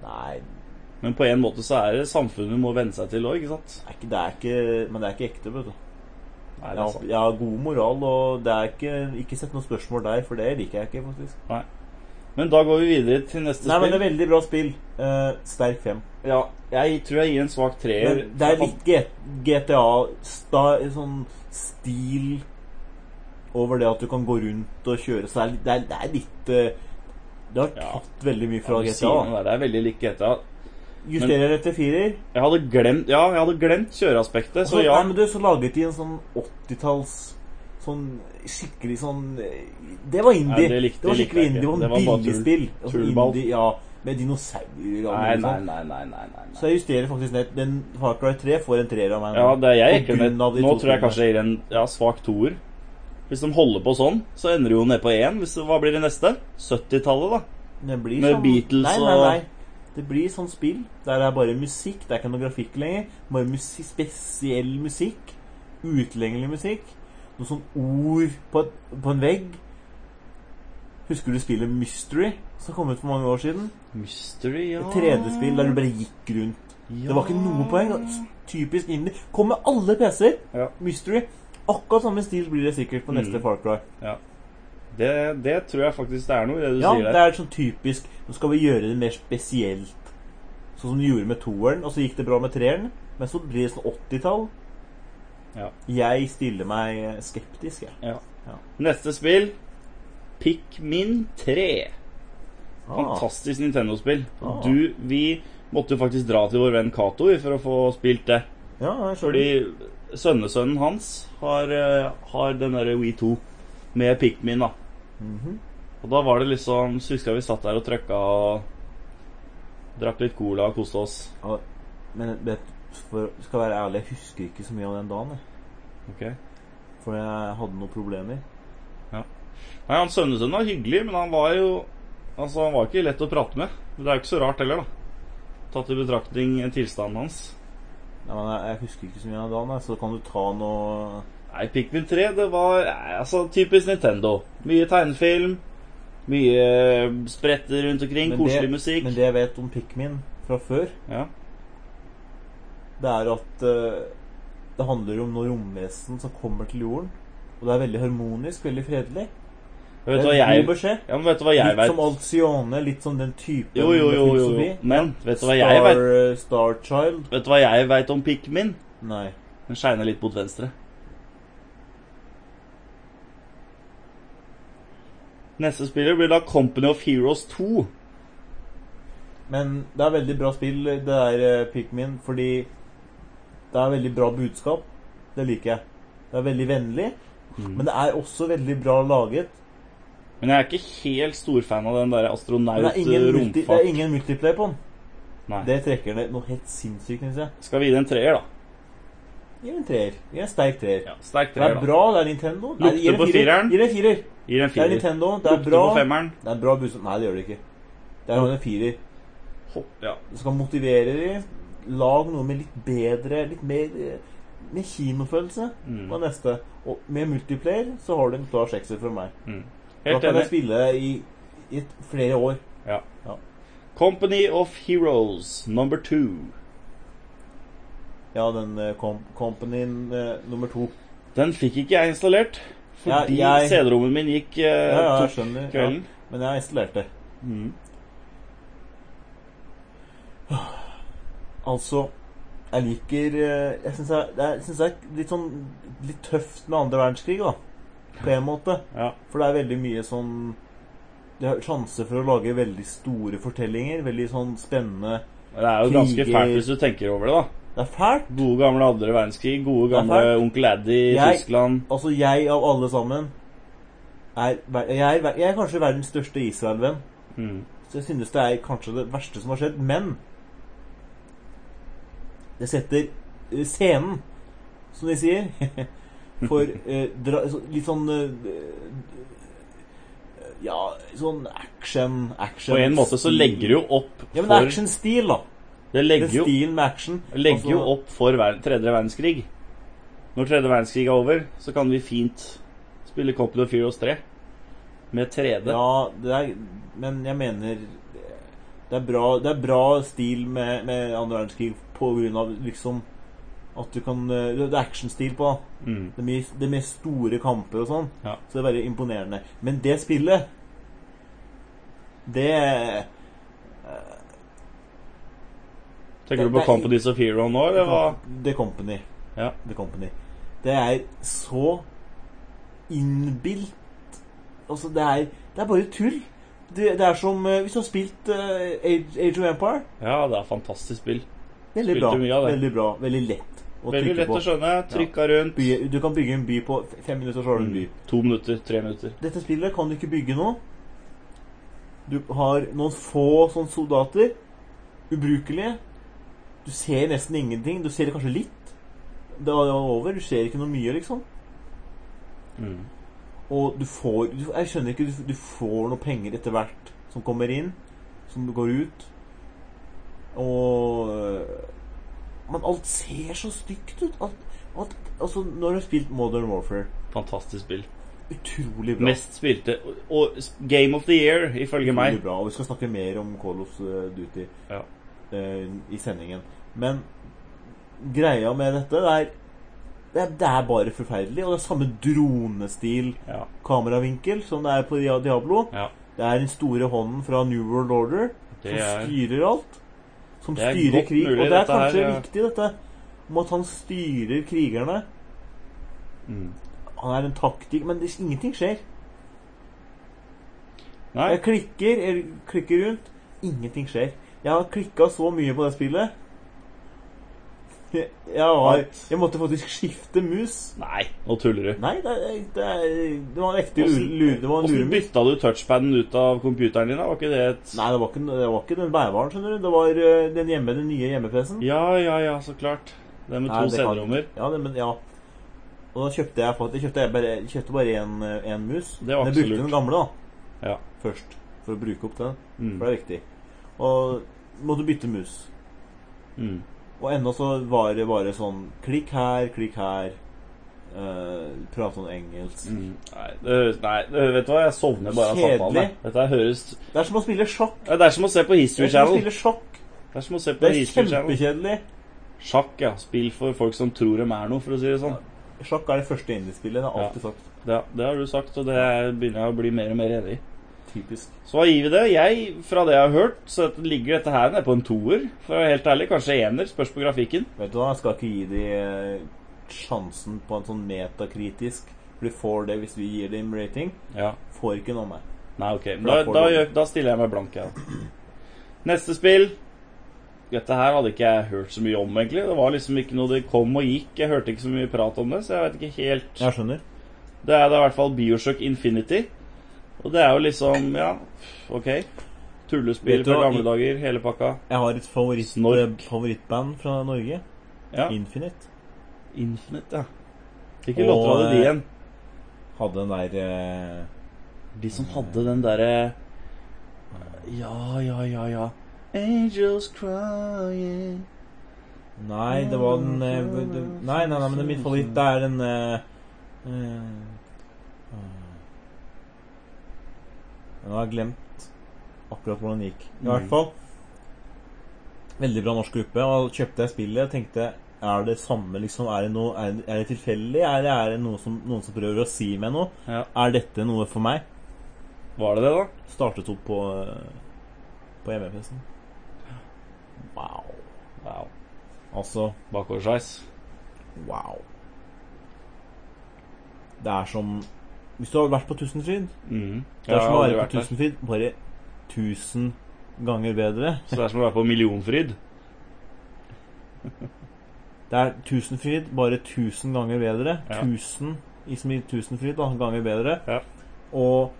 Speaker 2: Nei,
Speaker 1: Men på en måte så er det samfunnet må venne seg til òg, ikke sant?
Speaker 2: det er ikke, det er ikke, men det er ikke ekte, vet du.
Speaker 1: Nei,
Speaker 2: Jeg
Speaker 1: det er
Speaker 2: har,
Speaker 1: sant.
Speaker 2: jeg har god moral, og det er ikke, ikke sett noen spørsmål der, for det liker jeg ikke, faktisk.
Speaker 1: Men da går vi videre til neste
Speaker 2: Nei, men det
Speaker 1: spill.
Speaker 2: er veldig bra spill. Eh, sterk fem.
Speaker 1: Ja, jeg tror jeg gir en svak treer.
Speaker 2: Men det er litt G- GTA sta, Sånn stil over det at du kan gå rundt og kjøre. Så det er, litt- det er, det er litt eh, Det har
Speaker 1: Ja.
Speaker 2: tatt veldig mye fra
Speaker 1: fra
Speaker 2: GTA.
Speaker 1: Det er veldig likt GTA.
Speaker 2: Justerer etter firer.
Speaker 1: Jeg hadde glemt Ja, jeg hadde glemt kjøreaspektet,
Speaker 2: Så,
Speaker 1: så ja.
Speaker 2: nei, men du, så laget de en sånn 80-talls Sånn skikkelig sånn eh, Det var indie.
Speaker 1: Nei, det likte-
Speaker 2: var
Speaker 1: likte
Speaker 2: skikkelig
Speaker 1: jeg ikke.
Speaker 2: indie. Det var,
Speaker 1: Det var bare
Speaker 2: en billig
Speaker 1: tull-
Speaker 2: spill. Altså,
Speaker 1: tullball.
Speaker 2: indie, ja, med dinosaurer og
Speaker 1: Nei,
Speaker 2: alt
Speaker 1: nei,
Speaker 2: sånt.
Speaker 1: nei, nei, nei, nei, nei.
Speaker 2: Så jeg justerer faktisk ned. Den Far Cry 3 får en treer av meg.
Speaker 1: Ja,
Speaker 2: nå.
Speaker 1: det er jeg
Speaker 2: På
Speaker 1: ikke ned.
Speaker 2: grunn av de
Speaker 1: Nå
Speaker 2: to
Speaker 1: tror jeg
Speaker 2: spillene.
Speaker 1: kanskje jeg gir en ja, svak toer. Hvis de holder på sånn, så ender det jo ned på én. Hvis det, hva blir det neste? 70-tallet, da.
Speaker 2: Det blir
Speaker 1: Med
Speaker 2: sånn,
Speaker 1: Beatles
Speaker 2: nei, nei,
Speaker 1: og-
Speaker 2: nei. Det blir sånn spill der det er bare musikk. Det er ikke noe grafikk lenger. Bare musi- spesiell musikk. Utilgjengelig musikk. Noen sånn ord på, et, på en vegg. Husker du spillet Mystery, som kom ut for mange år siden?
Speaker 1: Mystery, ja.
Speaker 2: Et 3D-spill der du bare gikk rundt. Det var ikke noe poeng. altså. da. S- Typisk indie. Kom med alle PC-er.
Speaker 1: Ja.
Speaker 2: Mystery. Akkurat samme stil blir det sikkert på neste
Speaker 1: Mm.
Speaker 2: Far Cry.
Speaker 1: Det, det tror jeg faktisk det er noe i det du
Speaker 2: Ja,
Speaker 1: sier
Speaker 2: det
Speaker 1: der.
Speaker 2: er sånn typisk Nå skal vi gjøre det mer spesielt Sånn som de gjorde med toeren Og så gikk det bra med treeren Men så blir det sånn 80-tall
Speaker 1: Ja.
Speaker 2: Jeg stiller meg skeptisk jeg.
Speaker 1: Ja.
Speaker 2: Ja.
Speaker 1: Neste spill Pikmin 3. Fantastisk Nintendo-spill.
Speaker 2: Ah.
Speaker 1: Du, vi måtte jo faktisk dra til vår venn Cato vi, for å få spilt det.
Speaker 2: Ja, jeg
Speaker 1: Fordi
Speaker 2: skjønner.
Speaker 1: sønnesønnen hans har, eh, har den derre Wii 2 med Pikmin, da.
Speaker 2: Mhm.
Speaker 1: Og da var det liksom Så husker jeg vi satt der og trøkka og drakk litt cola og koste oss.
Speaker 2: Ja, Men det, for, skal være ærlig, jeg husker ikke så mye av den dagen. Jeg.
Speaker 1: Ok
Speaker 2: For jeg hadde noen problemer.
Speaker 1: Nei, han Sønnesønnen var hyggelig, men han var jo Altså, han var ikke lett å prate med. Men Det er jo ikke så rart heller, da. Tatt i betraktning tilstanden hans.
Speaker 2: Nei, men jeg, jeg husker ikke så mye av den dagen, jeg, så kan du ta noe
Speaker 1: Nei, Pikmin 3, det var nei, altså typisk Nintendo. Mye tegnefilm. Mye eh, spretter rundt omkring.
Speaker 2: Men
Speaker 1: Koselig
Speaker 2: det-
Speaker 1: musikk.
Speaker 2: Men det jeg vet om Pikmin fra før,
Speaker 1: Ja.
Speaker 2: det er at eh, det handler om noen romvesen som kommer til jorden. Og det er veldig harmonisk, veldig fredelig.
Speaker 1: Vet du hva
Speaker 2: det er
Speaker 1: jeg
Speaker 2: god beskjed.
Speaker 1: ja, men vet du hva jeg
Speaker 2: Litt
Speaker 1: vet?
Speaker 2: som Alcione, litt som den typen
Speaker 1: Jo, jo, jo, jo, jo.
Speaker 2: filosofi.
Speaker 1: Men vet du hva jeg
Speaker 2: Star, eh,
Speaker 1: vet?
Speaker 2: Star Child?
Speaker 1: Vet du hva jeg vet om Pikmin?
Speaker 2: Nei.
Speaker 1: Den shiner litt mot venstre. Neste spiller blir da Company of Heroes 2.
Speaker 2: Men det er veldig bra spill, det der eh, Pikmin, fordi det er veldig bra budskap. Det liker jeg. Det er veldig vennlig,
Speaker 1: Mm.
Speaker 2: men det er også veldig bra laget.
Speaker 1: Men jeg er ikke helt storfan av den der eh,
Speaker 2: Men det er ingen, multi, det er
Speaker 1: astronaut-romfart.
Speaker 2: ingen multiplayer på den.
Speaker 1: Nei.
Speaker 2: Det trekker ned noe helt sinnssykt, syns jeg.
Speaker 1: Skal vi gi den en treer, da?
Speaker 2: Gi det en treer. Gi det en sterk treer.
Speaker 1: Ja, Sterk
Speaker 2: Det
Speaker 1: treer,
Speaker 2: er
Speaker 1: da.
Speaker 2: bra, det er Nintendo. Nei,
Speaker 1: Lukter
Speaker 2: gi det en
Speaker 1: på
Speaker 2: firer.
Speaker 1: fireren.
Speaker 2: Gi det en firer.
Speaker 1: Gir en
Speaker 2: Det er
Speaker 1: firer.
Speaker 2: Nintendo. Det er
Speaker 1: Lukter
Speaker 2: bra.
Speaker 1: på femmeren.
Speaker 2: Det er bra budskap. Nei, det gjør det ikke. Det er jo en firer.
Speaker 1: Hopp, ja.
Speaker 2: Du skal motivere dem. Lag noe med litt bedre Litt mer eh, med kinofølelse.
Speaker 1: Mm.
Speaker 2: Var neste. Og med multiplayer så har du en klar sekser fra meg.
Speaker 1: Mm.
Speaker 2: Da
Speaker 1: Helt
Speaker 2: kan jeg
Speaker 1: enig.
Speaker 2: spille det i, i et- flere år.
Speaker 1: Ja.
Speaker 2: Ja.
Speaker 1: Company of Heroes number two.
Speaker 2: Ja, den eh, com companyen eh, nummer to.
Speaker 1: Den fikk ikke jeg installert.
Speaker 2: Ja,
Speaker 1: Fordi
Speaker 2: jeg-
Speaker 1: CD-rommen min gikk eh,
Speaker 2: Ja, ja, jeg
Speaker 1: tok
Speaker 2: skjønner. Ja.
Speaker 1: kvelden.
Speaker 2: Men jeg har installert det.
Speaker 1: Mm.
Speaker 2: Altså Jeg liker eh, Jeg syns jeg- det er- jeg syns det er litt sånn Litt tøft med andre verdenskrig, da. På en måte.
Speaker 1: Ja.
Speaker 2: For det er veldig mye sånn Det er sjanse for å lage veldig store fortellinger. Veldig sånn spennende
Speaker 1: Det er jo ganske
Speaker 2: Kriger.
Speaker 1: fælt hvis du tenker over det, da.
Speaker 2: Det er fælt.
Speaker 1: Gode gamle andre verdenskrig, gode
Speaker 2: Det er
Speaker 1: gamle
Speaker 2: fælt.
Speaker 1: onkel Addy i
Speaker 2: Jeg-
Speaker 1: Tyskland.
Speaker 2: Altså, jeg av alle sammen er, ver- jeg, er, ver- jeg er kanskje verdens største Israel-venn.
Speaker 1: Mm.
Speaker 2: Så jeg synes det er kanskje det verste som har skjedd. Men det setter eh, scenen, som de sier, for eh, dra, så- litt sånn eh, eh, Ja, sånn action, action
Speaker 1: På en måte så legger det jo opp
Speaker 2: Ja, men
Speaker 1: for
Speaker 2: actionstil, da.
Speaker 1: Det
Speaker 2: Den
Speaker 1: legger jo,
Speaker 2: stilen med action.
Speaker 1: legger jo
Speaker 2: Altså,
Speaker 1: opp for ver tredje verdenskrig. Når tredje verdenskrig er over, så kan vi fint spille Company of Heroes 3 med 3D.
Speaker 2: Ja, det er, men jeg mener Det er bra, det er bra stil med, med andre verdenskrig på grunn av liksom at du kan eh, Det er actionstil på. da.
Speaker 1: Mm.
Speaker 2: Det er, mye, det er mer store kamper og sånn.
Speaker 1: Ja.
Speaker 2: Så det er veldig imponerende. Men det spillet Det eh,
Speaker 1: Tenker du
Speaker 2: Det-
Speaker 1: på
Speaker 2: det-
Speaker 1: Companies of Hero nå, eller hva?
Speaker 2: The Company.
Speaker 1: Ja.
Speaker 2: The Company. Det er så innbilt Altså, det er, det er bare tull. Det, det er som eh, hvis du har spilt eh, Age, Age of Empire.
Speaker 1: Ja, det er fantastisk spill.
Speaker 2: Veldig
Speaker 1: Spilte
Speaker 2: bra.
Speaker 1: mye av det.
Speaker 2: Veldig bra. Veldig lett å
Speaker 1: Veldig
Speaker 2: trykke
Speaker 1: lett
Speaker 2: på.
Speaker 1: å skjønne. Trykka rundt.
Speaker 2: Bygge, du kan bygge en by på f- fem minutter, så har du en by.
Speaker 1: Mm. To minutter, tre minutter.
Speaker 2: Dette spillet kan du ikke bygge noe. Du har noen få sånne soldater. Ubrukelige. Du ser nesten ingenting. Du ser kanskje litt. Det er over. Du ser ikke noe mye, liksom.
Speaker 1: Mm.
Speaker 2: Og du får du, Jeg skjønner ikke. Du, f- du får noe penger etter hvert som kommer inn, som går ut. Og øh, Men alt ser så stygt ut. Alt, alt, altså, når du har spilt Modern Warfare
Speaker 1: Fantastisk spill.
Speaker 2: Utrolig bra.
Speaker 1: Mest spilte og, og s- Game of the Year, ifølge meg.
Speaker 2: Utrolig bra. Og vi skal snakke mer om Call of Duty
Speaker 1: Ja.
Speaker 2: eh, i sendingen. Men greia med dette det er, det er Det er bare forferdelig. Og det er samme dronestil,
Speaker 1: Ja.
Speaker 2: kameravinkel, som det er på Dia- Diablo.
Speaker 1: ja.
Speaker 2: Det er den store hånden fra New World Order
Speaker 1: Det
Speaker 2: som
Speaker 1: er
Speaker 2: styrer alt. Som
Speaker 1: Det er
Speaker 2: styrer
Speaker 1: godt
Speaker 2: krig.
Speaker 1: mulig
Speaker 2: og det er
Speaker 1: dette her,
Speaker 2: kanskje
Speaker 1: ja.
Speaker 2: viktig, dette, om at han styrer krigerne.
Speaker 1: mm.
Speaker 2: Han er en taktikk Men det, ingenting skjer.
Speaker 1: Nei.
Speaker 2: Jeg klikker, jeg klikker rundt. Ingenting skjer. Jeg har klikka så mye på det spillet. Jeg, jeg, var,
Speaker 1: At-
Speaker 2: jeg måtte faktisk skifte mus.
Speaker 1: Nei, nå tuller du.
Speaker 2: Nei, det, det, det, er- det var en ekte
Speaker 1: Hvordan-
Speaker 2: lure. Det var en
Speaker 1: Hvordan
Speaker 2: luremus.
Speaker 1: bytta du touchpaden ut av computeren din? da? Var ikke det et
Speaker 2: Nei, det var, ikke, det var ikke den bærbaren, skjønner du. Det var øh, den, hjemme, den nye hjemmepressen.
Speaker 1: Ja, ja, ja, så klart. Det med
Speaker 2: Nei,
Speaker 1: to
Speaker 2: det kan-
Speaker 1: CD-rommer.
Speaker 2: Ja, det, men ja. Og da kjøpte jeg faktisk jeg kjøpte, jeg bare, jeg kjøpte bare én øh, én mus.
Speaker 1: Det var
Speaker 2: Men
Speaker 1: ikke
Speaker 2: jeg
Speaker 1: så lurt.
Speaker 2: brukte den gamle, da.
Speaker 1: Ja.
Speaker 2: først. For å bruke opp den. For
Speaker 1: Mm.
Speaker 2: det er viktig. Og måtte bytte mus.
Speaker 1: Mm.
Speaker 2: Og ennå så var det bare sånn Klikk her, klikk her. Eh, prate sånn engelsk.
Speaker 1: Mm. Nei, det høres, nei, det, vet du hva, jeg sovner bare av
Speaker 2: Kjedelig.
Speaker 1: samtalen. jeg. Dette her høres
Speaker 2: Det er som å spille sjakk.
Speaker 1: Ja, Det er som å se på
Speaker 2: Det
Speaker 1: History
Speaker 2: er som å
Speaker 1: Channel.
Speaker 2: spille sjakk.
Speaker 1: Det er som å se på
Speaker 2: Det er
Speaker 1: History Channel.
Speaker 2: kjempekjedelig.
Speaker 1: Sjakk, ja. Spill for folk som tror de er noe, for å si det sånn.
Speaker 2: Sjakk er det første indiespillet. Det har jeg alltid sagt.
Speaker 1: Det, det har du sagt, og det er- begynner jeg å bli mer og mer enig i.
Speaker 2: Typisk.
Speaker 1: Så hva gir vi det? Jeg, fra det jeg har hørt, så ligger dette her nede på en toer. For å være helt ærlig, kanskje ener. Spørs på grafikken.
Speaker 2: Vet du hva, jeg skal ikke gi de eh, sjansen på en sånn metakritisk. For de får det hvis vi gir dem rating.
Speaker 1: Ja.
Speaker 2: Får ikke noe meg.
Speaker 1: Nei, ok. Men
Speaker 2: For da
Speaker 1: da,
Speaker 2: får
Speaker 1: da,
Speaker 2: du-
Speaker 1: gjør, da stiller jeg meg blank, jeg. Ja. Neste spill Dette her hadde ikke jeg hørt så mye om, egentlig. Det var liksom ikke noe det kom og gikk. Jeg hørte ikke så mye prat om det, så jeg vet ikke helt
Speaker 2: Jeg skjønner.
Speaker 1: Det er da i hvert fall Bioshock Infinity. Og det er jo liksom Ja, ok. Tullespill
Speaker 2: Vet du
Speaker 1: fra
Speaker 2: hva,
Speaker 1: gamle
Speaker 2: i-
Speaker 1: dager, hele pakka.
Speaker 2: Jeg har et favoritt, eh,
Speaker 1: Snork.
Speaker 2: favorittband fra Norge.
Speaker 1: Ja.
Speaker 2: Infinite.
Speaker 1: Infinite, ja. Hvilke
Speaker 2: Og,
Speaker 1: låter hadde de
Speaker 2: eh,
Speaker 1: igjen?
Speaker 2: hadde den der eh,
Speaker 1: De som hadde den derre eh, Ja, ja, ja, ja. Angels crying
Speaker 2: Nei, det var den eh, v- det, Nei, nei, nei, men det er min favoritt. Det er den eh, eh, Nå har jeg glemt akkurat hvordan den gikk. I hvert
Speaker 1: Mm.
Speaker 2: fall Veldig bra norsk gruppe. Og da kjøpte jeg spillet og tenkte Er det samme, liksom? Er det, noe, er det, er det tilfeldig? Er det, er det noe som, noen som prøver å si meg noe?
Speaker 1: Ja.
Speaker 2: Er dette noe for meg?
Speaker 1: Var det det, da?
Speaker 2: Startet opp på eh, På E hjemmefesten. Wow.
Speaker 1: Wow.
Speaker 2: Altså
Speaker 1: Bakoversveis.
Speaker 2: Wow. Det er som Hvis du har vært på Tusenfryd
Speaker 1: Mm.
Speaker 2: Det er som å
Speaker 1: har aldri
Speaker 2: være
Speaker 1: vært
Speaker 2: på
Speaker 1: der.
Speaker 2: Tusenfryd, bare 1000 ganger bedre.
Speaker 1: Så det er som å være på Millionfryd.
Speaker 2: Det er Tusenfryd, bare 1000 ganger bedre.
Speaker 1: Ja.
Speaker 2: 1000 i som i Tusenfryd, da, ganger bedre.
Speaker 1: Ja.
Speaker 2: Og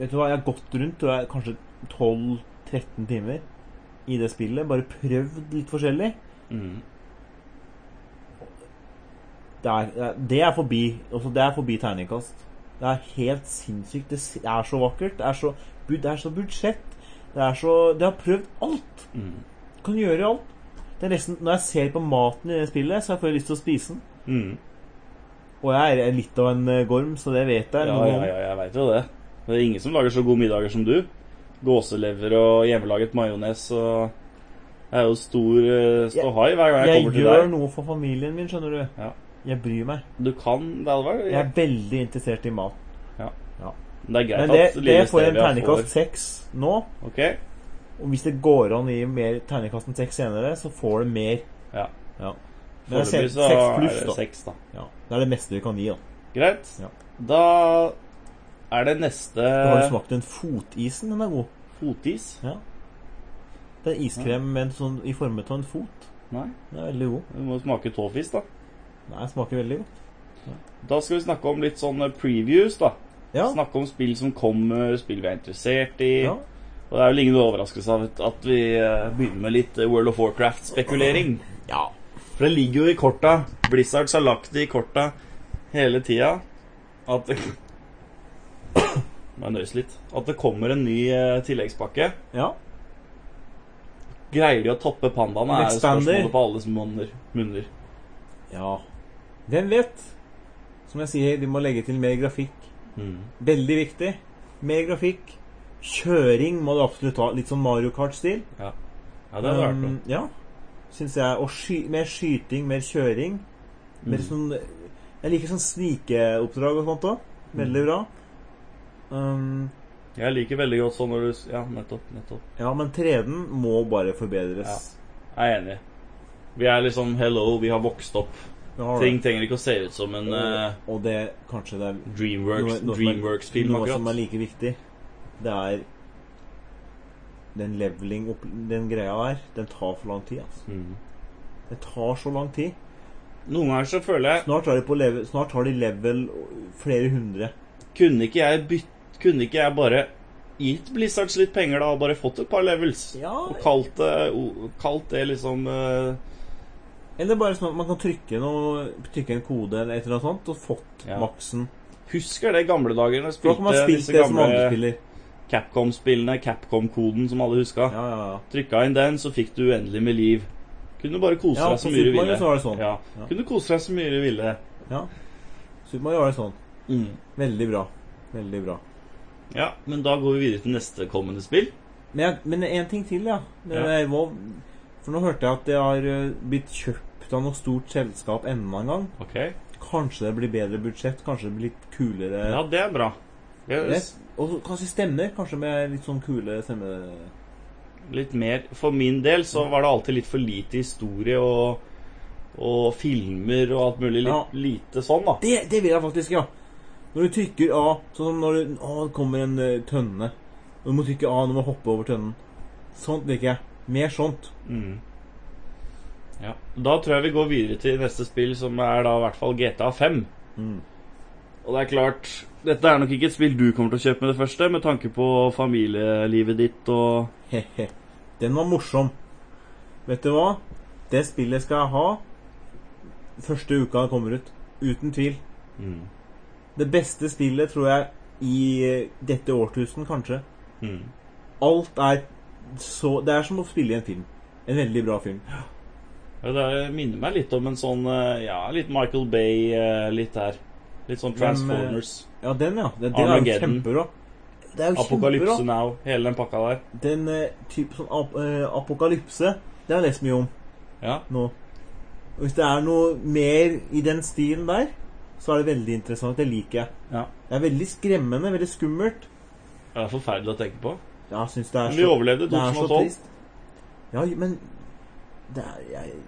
Speaker 2: Vet du hva, jeg har gått rundt tror jeg, kanskje 12-13 timer i det spillet. Bare prøvd litt forskjellig.
Speaker 1: Mm.
Speaker 2: det er, det er forbi altså Det er forbi terningkast. Det er helt sinnssykt. Det s- er så vakkert. Det er så, bu- det er så budsjett. Det er så Det har prøvd alt.
Speaker 1: Mm.
Speaker 2: Kan gjøre alt. Det er nesten, når jeg ser på maten i det spillet, så får jeg lyst til å spise den.
Speaker 1: Mm.
Speaker 2: Og jeg er litt av en eh, gorm, så det vet jeg.
Speaker 1: Ja,
Speaker 2: noe
Speaker 1: ja,
Speaker 2: om.
Speaker 1: ja, jeg veit jo det. Det er ingen som lager så gode middager som du. Gåselever og hjemmelaget majones og Jeg er jo stor eh, ståhai hver gang jeg
Speaker 2: Jeg
Speaker 1: kommer til
Speaker 2: gjør
Speaker 1: deg.
Speaker 2: noe for familien min, skjønner du.
Speaker 1: Ja.
Speaker 2: Jeg bryr meg.
Speaker 1: Du kan det hadde vært
Speaker 2: Jeg er veldig interessert i mat.
Speaker 1: Men Det er greit
Speaker 2: Men det,
Speaker 1: at
Speaker 2: det
Speaker 1: lille
Speaker 2: får en
Speaker 1: Stevia
Speaker 2: terningkast seks nå.
Speaker 1: får Ok,
Speaker 2: Og hvis det går an å gi mer terningkasten seks senere, så får det mer.
Speaker 1: Ja.
Speaker 2: ja. Men jeg
Speaker 1: Foreløpig
Speaker 2: ser
Speaker 1: så
Speaker 2: seks
Speaker 1: er
Speaker 2: pluss,
Speaker 1: det
Speaker 2: da.
Speaker 1: seks, da.
Speaker 2: Ja, Det er det meste vi kan gi. da
Speaker 1: Greit.
Speaker 2: Ja.
Speaker 1: Da er det neste
Speaker 2: Du har jo smakt den fotisen. Den er god.
Speaker 1: fotis.
Speaker 2: Det er iskrem med en sånn, i formet av en fot.
Speaker 1: Nei,
Speaker 2: Den er veldig god.
Speaker 1: vi må smake tåfis, da.
Speaker 2: Nei, den smaker veldig godt.
Speaker 1: Da skal vi snakke om litt sånne previews, da.
Speaker 2: Ja.
Speaker 1: Snakke om spill som kommer, spill vi er interessert i.
Speaker 2: ja.
Speaker 1: Og det er vel ingen overraskelse av at- at vi eh, begynner med litt eh, World of Warcraft-spekulering.
Speaker 2: ja.
Speaker 1: For det ligger jo i korta. Blizzards har lagt det i korta hele tida. At det Må jeg nøyes litt. At det kommer en ny eh, tilleggspakke.
Speaker 2: ja.
Speaker 1: Greier de å toppe pandaene, er jo
Speaker 2: Expander.
Speaker 1: spørsmålet på alles munner. munner.
Speaker 2: Ja. Hvem vet? Som jeg sier, de må legge til mer grafikk. Mm. Veldig viktig. Mer grafikk. Kjøring må du absolutt ha. Litt sånn Mario Kart-stil.
Speaker 1: Ja, det hadde vært noe.
Speaker 2: Um, ja, syns jeg. Og sky mer skyting, mer kjøring. Mer
Speaker 1: Mm.
Speaker 2: sånn, jeg liker sånn snikeoppdrag og sånt òg.
Speaker 1: Mm.
Speaker 2: Veldig bra. Um,
Speaker 1: Jeg liker veldig godt sånn når du s- Ja, nettopp. nettopp.
Speaker 2: ja, men 3D-en må bare forbedres.
Speaker 1: Jeg er enig. Vi er liksom Hello, vi har vokst opp.
Speaker 2: Det har
Speaker 1: Ting trenger ikke å se ut som en
Speaker 2: det.
Speaker 1: eh,
Speaker 2: Og, og det kanskje det er
Speaker 1: Dreamworks-
Speaker 2: noe- noe som er-
Speaker 1: Dreamworks-film,
Speaker 2: Noe som er
Speaker 1: akkurat.
Speaker 2: like viktig, det er den leveling opp, Den greia her, den tar for lang tid, altså.
Speaker 1: Mm.
Speaker 2: Det tar så lang tid.
Speaker 1: Noen ganger så føler jeg
Speaker 2: Snart har de, på level, snart har de level flere hundre.
Speaker 1: Kunne ikke jeg bytt Kunne ikke jeg bare gitt Blizzards litt penger da og bare fått et par levels?
Speaker 2: Ja,
Speaker 1: Og kalt det, o- kalt det liksom eh,
Speaker 2: Eller bare sånn at man kan trykke, noe, trykke en kode eller et eller annet sånt, og fått
Speaker 1: Ja.
Speaker 2: maksen.
Speaker 1: Husker det i gamle dager når jeg
Speaker 2: For da kan man
Speaker 1: spilte
Speaker 2: spille
Speaker 1: disse
Speaker 2: det som andre
Speaker 1: gamle
Speaker 2: spiller.
Speaker 1: Capcom-spillene, Capcom-koden som alle huska?
Speaker 2: Ja, ja, ja.
Speaker 1: Trykka inn den, så fikk du uendelig med liv. Kunne bare kose
Speaker 2: ja på
Speaker 1: deg så mye
Speaker 2: Super
Speaker 1: du
Speaker 2: Mario
Speaker 1: ville.
Speaker 2: så var det sånn.
Speaker 1: Ja.
Speaker 2: Ja.
Speaker 1: Kunne kose deg så mye du ville.
Speaker 2: Ja. Super Mario var det sånn. Veldig bra. Veldig bra.
Speaker 1: Ja, men da går vi videre til neste kommende spill.
Speaker 2: Men, jeg, men en ting til, ja. Med
Speaker 1: Ja.
Speaker 2: det der WoW. For nå hørte jeg at det har eh, blitt kjøpt av noe stort selskap enda en gang.
Speaker 1: Ok
Speaker 2: Kanskje det blir bedre budsjett, kanskje det blir litt kulere
Speaker 1: Ja, det er bra.
Speaker 2: Det-
Speaker 1: Yes.
Speaker 2: Og så kanskje stemmer. Kanskje med litt sånn kule stemme...
Speaker 1: Litt mer For min del så var det alltid litt for lite historie og, og filmer og alt mulig. Litt,
Speaker 2: Ja.
Speaker 1: Lite sånn, da.
Speaker 2: Det, det vil jeg faktisk, ja. Når du trykker A, sånn som når du, å, det kommer en eh, tønne. Og du må trykke A når du må hoppe over tønnen. Sånt liker jeg. Mer sånt.
Speaker 1: Mm. Ja. Da tror jeg vi går videre til neste spill, som er da i hvert fall GTA 5.
Speaker 2: Mm.
Speaker 1: Og det er klart Dette er nok ikke et spill du kommer til å kjøpe med det første, med tanke på familielivet ditt og
Speaker 2: Hehe. Den var morsom. Vet du hva? Det spillet skal jeg ha første uka det kommer ut. Uten tvil.
Speaker 1: mm.
Speaker 2: Det beste spillet, tror jeg, i eh, dette årtusen, kanskje.
Speaker 1: Mm.
Speaker 2: Alt er så Det er som å spille i en film. En veldig bra film.
Speaker 1: Ja, Det minner meg litt om en sånn eh, Ja, litt Michael Bay, eh, litt der. Litt
Speaker 2: eh,
Speaker 1: sånn Transformers.
Speaker 2: Ja, den, ja. Den, den er jo
Speaker 1: Armageddon.
Speaker 2: kjempebra. Det er jo kjempebra.
Speaker 1: Apokalypse Now, hele den pakka der.
Speaker 2: Den eh, type sånn ap eh, apokalypse, det har jeg lest mye om
Speaker 1: Ja.
Speaker 2: nå. Og Hvis det er noe mer i den stilen der, så er det veldig interessant. Det liker jeg.
Speaker 1: ja.
Speaker 2: Det er veldig skremmende, veldig skummelt.
Speaker 1: Det er forferdelig å tenke på.
Speaker 2: Jeg syns det er
Speaker 1: Men vi overlevde
Speaker 2: det er så
Speaker 1: 2012.
Speaker 2: trist. Ja, men det er jeg,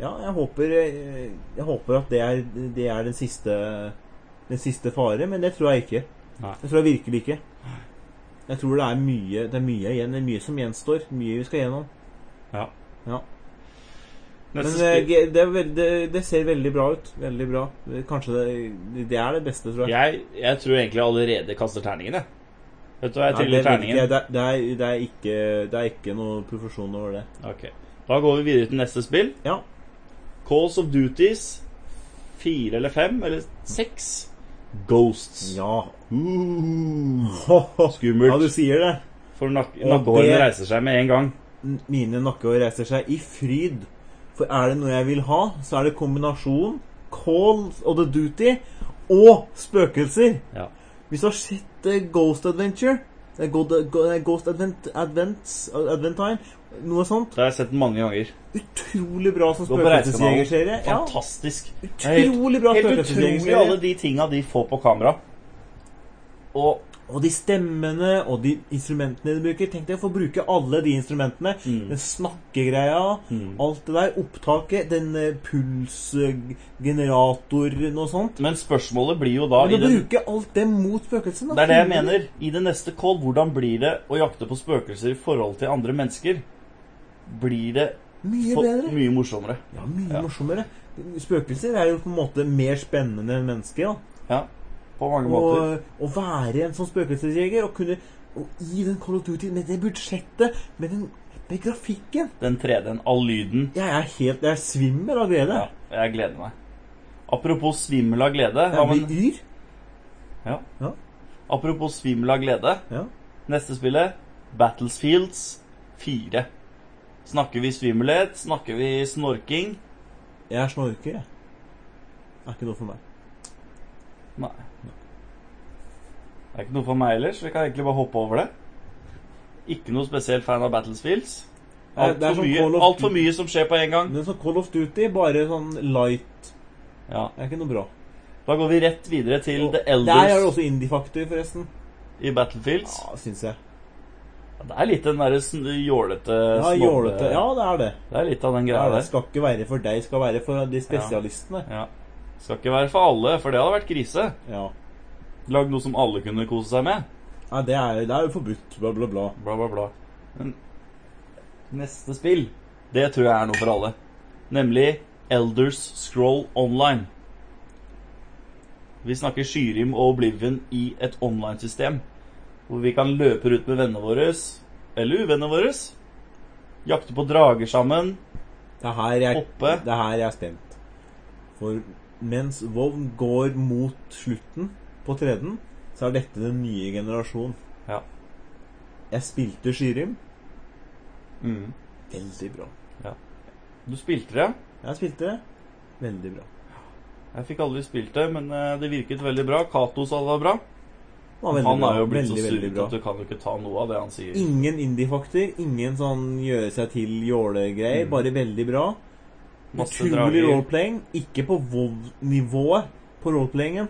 Speaker 2: Ja, jeg håper eh, Jeg håper at det er, det er den siste Den siste fare, men det tror jeg ikke.
Speaker 1: Nei.
Speaker 2: Jeg tror jeg virkelig ikke. Jeg tror det er mye Det er mye igjen. Det er mye som gjenstår. Mye vi skal gjennom.
Speaker 1: Ja.
Speaker 2: Ja. Men
Speaker 1: Neste
Speaker 2: eh,
Speaker 1: spill
Speaker 2: ge- det, er veld, det, det ser veldig bra ut. Veldig bra. Kanskje det, det er det beste, tror jeg.
Speaker 1: jeg, jeg tror egentlig jeg allerede kaster terningen, jeg. Vet du hva, jeg
Speaker 2: Nei, det,
Speaker 1: triller
Speaker 2: vet ikke jeg.
Speaker 1: terningen.
Speaker 2: det, er- det, er, det, er ikke, det er ikke noe profesjon over det.
Speaker 1: Ok. Da går vi videre til neste spill.
Speaker 2: Ja.
Speaker 1: Calls of Duties. Fire eller fem, eller seks. Ghosts.
Speaker 2: Ja. Ja, du
Speaker 1: Skummelt.
Speaker 2: sier det.
Speaker 1: For nak
Speaker 2: Og
Speaker 1: nakkehårene
Speaker 2: det-
Speaker 1: reiser seg med en gang.
Speaker 2: N- Mine nakkehår reiser seg i fryd. For er det noe jeg vil ha, så er det kombinasjon Call of the Duty og spøkelser.
Speaker 1: Ja.
Speaker 2: Hvis du har sett eh, Ghost Adventure eh, God, Go- eh, Ghost Advent, Advents, eh, Adventine, noe sånt.
Speaker 1: Det har jeg sett mange ganger.
Speaker 2: Utrolig bra som
Speaker 1: Gå på reisekanalen.
Speaker 2: spøkelsesjegerserie. Ja,
Speaker 1: Fantastisk. Det er helt-
Speaker 2: utrolig bra
Speaker 1: Helt utrolig alle
Speaker 2: spøkelsesjegerserie.
Speaker 1: de tinga de får på kamera. Og
Speaker 2: Og de stemmene og de instrumentene de bruker. Tenk deg å få bruke alle de instrumentene.
Speaker 1: Mm.
Speaker 2: Den snakkegreia. Alt det der, opptaket, den eh, pulsgeneratoren og sånt.
Speaker 1: Men spørsmålet blir jo da i
Speaker 2: Men du
Speaker 1: den,
Speaker 2: bruker alt det mot spøkelset. da.
Speaker 1: Det er det jeg mener. I det neste call, hvordan blir det å jakte på spøkelser i forhold til andre mennesker? Blir det
Speaker 2: Mye
Speaker 1: for,
Speaker 2: bedre.
Speaker 1: mye morsommere.
Speaker 2: Ja, mye
Speaker 1: Ja.
Speaker 2: morsommere. Spøkelser er jo på en måte mer spennende enn mennesker. da.
Speaker 1: Ja, på mange måter.
Speaker 2: Og å være en sånn spøkelsesjeger og kunne og I den Call of Duty, med det budsjettet, med den med grafikken
Speaker 1: Den 3D-en, all lyden.
Speaker 2: Jeg er helt Jeg svimmer av glede.
Speaker 1: Ja, jeg gleder meg. Apropos svimmel av glede. Ja,
Speaker 2: Jeg
Speaker 1: men,
Speaker 2: blir yr.
Speaker 1: ja.
Speaker 2: Ja.
Speaker 1: Apropos svimmel av glede.
Speaker 2: Ja.
Speaker 1: Neste spillet, Battlefields 4. Snakker vi svimmelhet? Snakker vi snorking?
Speaker 2: Jeg er snorker, jeg. Det er ikke noe for meg.
Speaker 1: Nei. Det er ikke noe for meg ellers. Vi kan egentlig bare hoppe over det. Ikke noe spesielt fan av Battlefields.
Speaker 2: Nei,
Speaker 1: Alt
Speaker 2: Eh, det er
Speaker 1: for
Speaker 2: som
Speaker 1: mye,
Speaker 2: Call of
Speaker 1: alt for
Speaker 2: Duty.
Speaker 1: mye som skjer på en gang.
Speaker 2: Men sånn Call of Duty, bare sånn light
Speaker 1: Ja.
Speaker 2: Det er ikke noe bra.
Speaker 1: Da går vi rett videre til The
Speaker 2: Der er det
Speaker 1: Elders
Speaker 2: også indie-faktor, forresten.
Speaker 1: i Battlefields.
Speaker 2: Ja, syns jeg.
Speaker 1: Ja, det er litt den derre sn- jålete
Speaker 2: Ja,
Speaker 1: snobbe-
Speaker 2: jålete. Ja, det er det.
Speaker 1: Det er litt av den
Speaker 2: det,
Speaker 1: greia
Speaker 2: er det.
Speaker 1: der.
Speaker 2: Skal ikke være for deg, skal være for de spesialistene.
Speaker 1: Ja. Skal ikke være for alle, for det hadde vært krise.
Speaker 2: Ja.
Speaker 1: Lag noe som alle kunne kose seg med.
Speaker 2: Nei, det er, det er jo forbudt, bla, bla, bla.
Speaker 1: Bla, bla, bla. Men neste spill, det tror jeg er noe for alle. Nemlig Elders Scroll Online. Vi snakker Skyrim og Oblivion i et online-system. Hvor vi kan løpe rundt med vennene våre, eller uvennene våre. Jakte på drager sammen.
Speaker 2: Det er her jeg,
Speaker 1: Oppe.
Speaker 2: det er her jeg er spent. For mens Vovn går mot slutten på tredje, så er dette den nye generasjonen.
Speaker 1: Ja.
Speaker 2: Jeg spilte Skyrim.
Speaker 1: Mm.
Speaker 2: Veldig bra.
Speaker 1: Du spilte det?
Speaker 2: Jeg spilte det. Veldig bra.
Speaker 1: Jeg fikk aldri spilt det, men eh, det virket veldig bra. Cato sa det var bra.
Speaker 2: Det var veldig
Speaker 1: han
Speaker 2: bra.
Speaker 1: er jo blitt
Speaker 2: veldig,
Speaker 1: så
Speaker 2: veldig
Speaker 1: surret
Speaker 2: bra.
Speaker 1: at du kan jo ikke ta noe av det han sier.
Speaker 2: Ingen indie-fakter. Ingen sånn gjøre seg til jålegreier.
Speaker 1: Mm.
Speaker 2: Bare veldig bra.
Speaker 1: Masse
Speaker 2: Utrolig
Speaker 1: drager.
Speaker 2: roleplaying. Ikke på WoW-nivået på roleplayingen,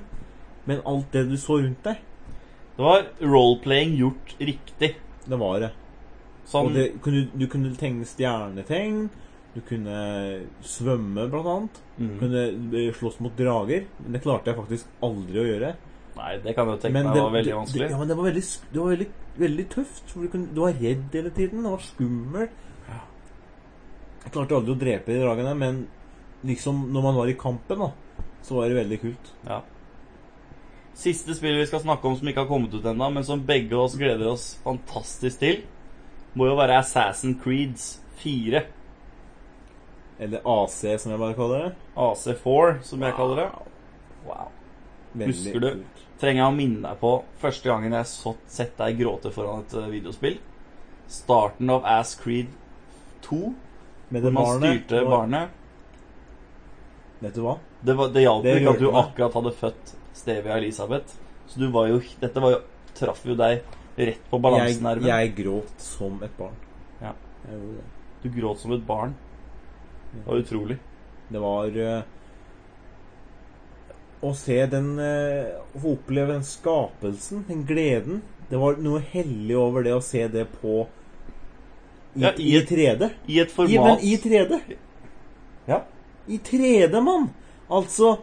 Speaker 2: men alt det du så rundt deg,
Speaker 1: Det var roleplaying gjort riktig.
Speaker 2: det var det.
Speaker 1: Sånn,
Speaker 2: Og det, kunne, du kunne tegne stjernetegn. Du kunne svømme, blant annet. Du
Speaker 1: mm.
Speaker 2: kunne eh, slåss mot drager. Men det klarte jeg faktisk aldri å gjøre.
Speaker 1: Nei, det kan jeg jo tenke
Speaker 2: Men
Speaker 1: meg var veldig vanskelig.
Speaker 2: Det, ja, men det var veldig, sk- det var veldig, veldig tøft. For du, kunne, du var redd hele tiden. Det var skummelt. Jeg klarte aldri å drepe de dragene, men liksom når man var i kampen, da, så var det veldig kult.
Speaker 1: Ja. Siste spillet vi skal snakke om som ikke har kommet ut ennå, men som begge oss gleder oss fantastisk til, må jo være Assassin Creeds 4.
Speaker 2: Eller AC, som jeg bare kaller det.
Speaker 1: AC4, som jeg kaller det. Wow.
Speaker 2: Veldig
Speaker 1: Husker du?
Speaker 2: kult.
Speaker 1: trenger jeg å minne deg på første gangen jeg så, sett deg gråte foran et eh, videospill. Starten av Ass Creed 2, hvor
Speaker 2: Med det
Speaker 1: man
Speaker 2: barnet.
Speaker 1: styrte
Speaker 2: og-
Speaker 1: barnet.
Speaker 2: Vet du hva?
Speaker 1: Det, var, det hjalp
Speaker 2: Det
Speaker 1: ikke at du
Speaker 2: hjelper meg.
Speaker 1: akkurat hadde født Stevia Elisabeth. Så du var jo Dette var jo, traff jo deg rett på
Speaker 2: Jeg,
Speaker 1: balansenerven.
Speaker 2: jeg gråt som et barn.
Speaker 1: Ja.
Speaker 2: Jeg gjorde det.
Speaker 1: Du gråt som et barn. Det var utrolig.
Speaker 2: Det var eh, Å se den eh, Å oppleve den skapelsen, den gleden Det var noe hellig over det å se det på i,
Speaker 1: Ja,
Speaker 2: i,
Speaker 1: i et
Speaker 2: 3D.
Speaker 1: I et
Speaker 2: I, men
Speaker 1: format
Speaker 2: i 3D!
Speaker 1: Ja.
Speaker 2: I 3D, mann! Altså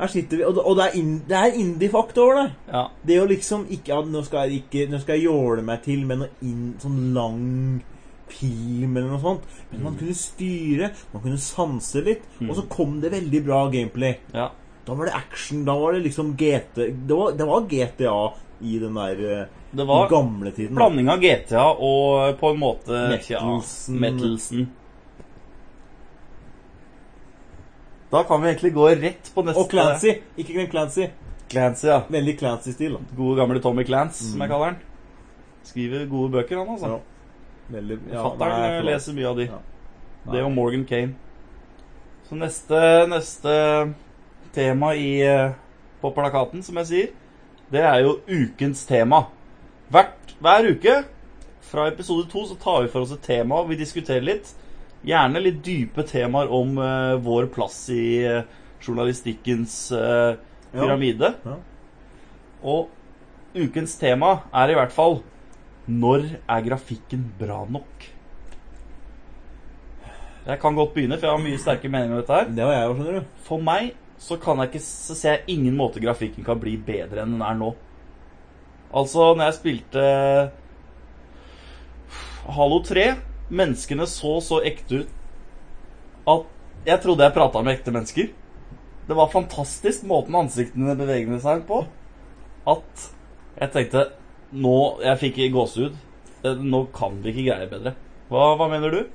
Speaker 2: Her sitter vi Og, det- og det er, in, det er indie-fakta over det.
Speaker 1: ja,
Speaker 2: Det å liksom ikke ja, nå, skal jeg ikke nå skal jeg jåle meg til med noe inn, sånn lang film eller noe sånt. Men
Speaker 1: Mm.
Speaker 2: man kunne styre, man kunne sanse litt, og så kom det veldig bra gameplay.
Speaker 1: ja.
Speaker 2: Da var det action, da var det liksom GT Det var, det var GTA i den der eh,
Speaker 1: Det var
Speaker 2: gamle tiden. da.
Speaker 1: blanding av GTA og på en måte tja,
Speaker 2: Metelsen.
Speaker 1: Metelsen. Da kan vi egentlig gå rett på neste
Speaker 2: Og Clancy. Ikke glem Clancy.
Speaker 1: Clancy, ja.
Speaker 2: Veldig Clancy-stil. da.
Speaker 1: Gode gamle Tommy Clance, som
Speaker 2: Mm.
Speaker 1: jeg kaller han. Skriver gode bøker, han altså.
Speaker 2: Ja. Veldig
Speaker 1: Fatteren
Speaker 2: nei,
Speaker 1: eh,
Speaker 2: forlåt.
Speaker 1: leser mye av de.
Speaker 2: Ja.
Speaker 1: Det og Morgan Kane. Så neste, neste tema i, eh, på plakaten, som jeg sier, det er jo ukens tema. Hvert, hver uke fra episode to så tar vi for oss et tema og vi diskuterer litt. Gjerne litt dype temaer om eh, vår plass i eh, journalistikkens eh,
Speaker 2: Ja.
Speaker 1: pyramide.
Speaker 2: Ja.
Speaker 1: Og ukens tema er i hvert fall Når er grafikken bra nok? Jeg kan godt begynne, for jeg har mye sterke meninger om dette her.
Speaker 2: Det var jeg òg, skjønner du.
Speaker 1: For meg så kan jeg ikke Så ser jeg ingen måte grafikken kan bli bedre enn den er nå. Altså, når jeg spilte Halo 3 Menneskene så så ekte ut at jeg trodde jeg prata med ekte mennesker. Det var fantastisk måten ansiktene bevegde seg på. At jeg tenkte Nå Jeg fikk gåsehud. Eh, Nå kan vi ikke greie bedre. Hva, hva mener du?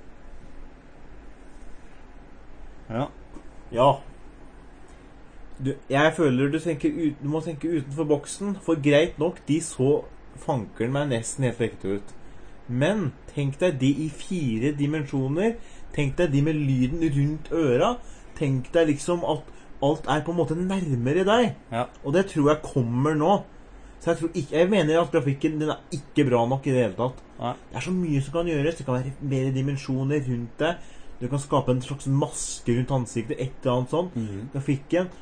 Speaker 1: Ja.
Speaker 2: Ja. Du, jeg føler du, tenker ut, du må tenke utenfor boksen, for greit nok, de så fankeren meg nesten helt ekte ut. Men tenk deg de i fire dimensjoner. Tenk deg de med lyden rundt øra. Tenk deg liksom at alt er på en måte nærmere deg.
Speaker 1: Ja.
Speaker 2: Og det tror jeg kommer nå. Så jeg, tror ikke, jeg mener at grafikken den er ikke bra nok i det hele tatt.
Speaker 1: Nei.
Speaker 2: Det er så mye som kan gjøres. Det kan være mer dimensjoner rundt deg. Du kan skape en slags maske rundt ansiktet. Et eller annet sånt. Grafikken.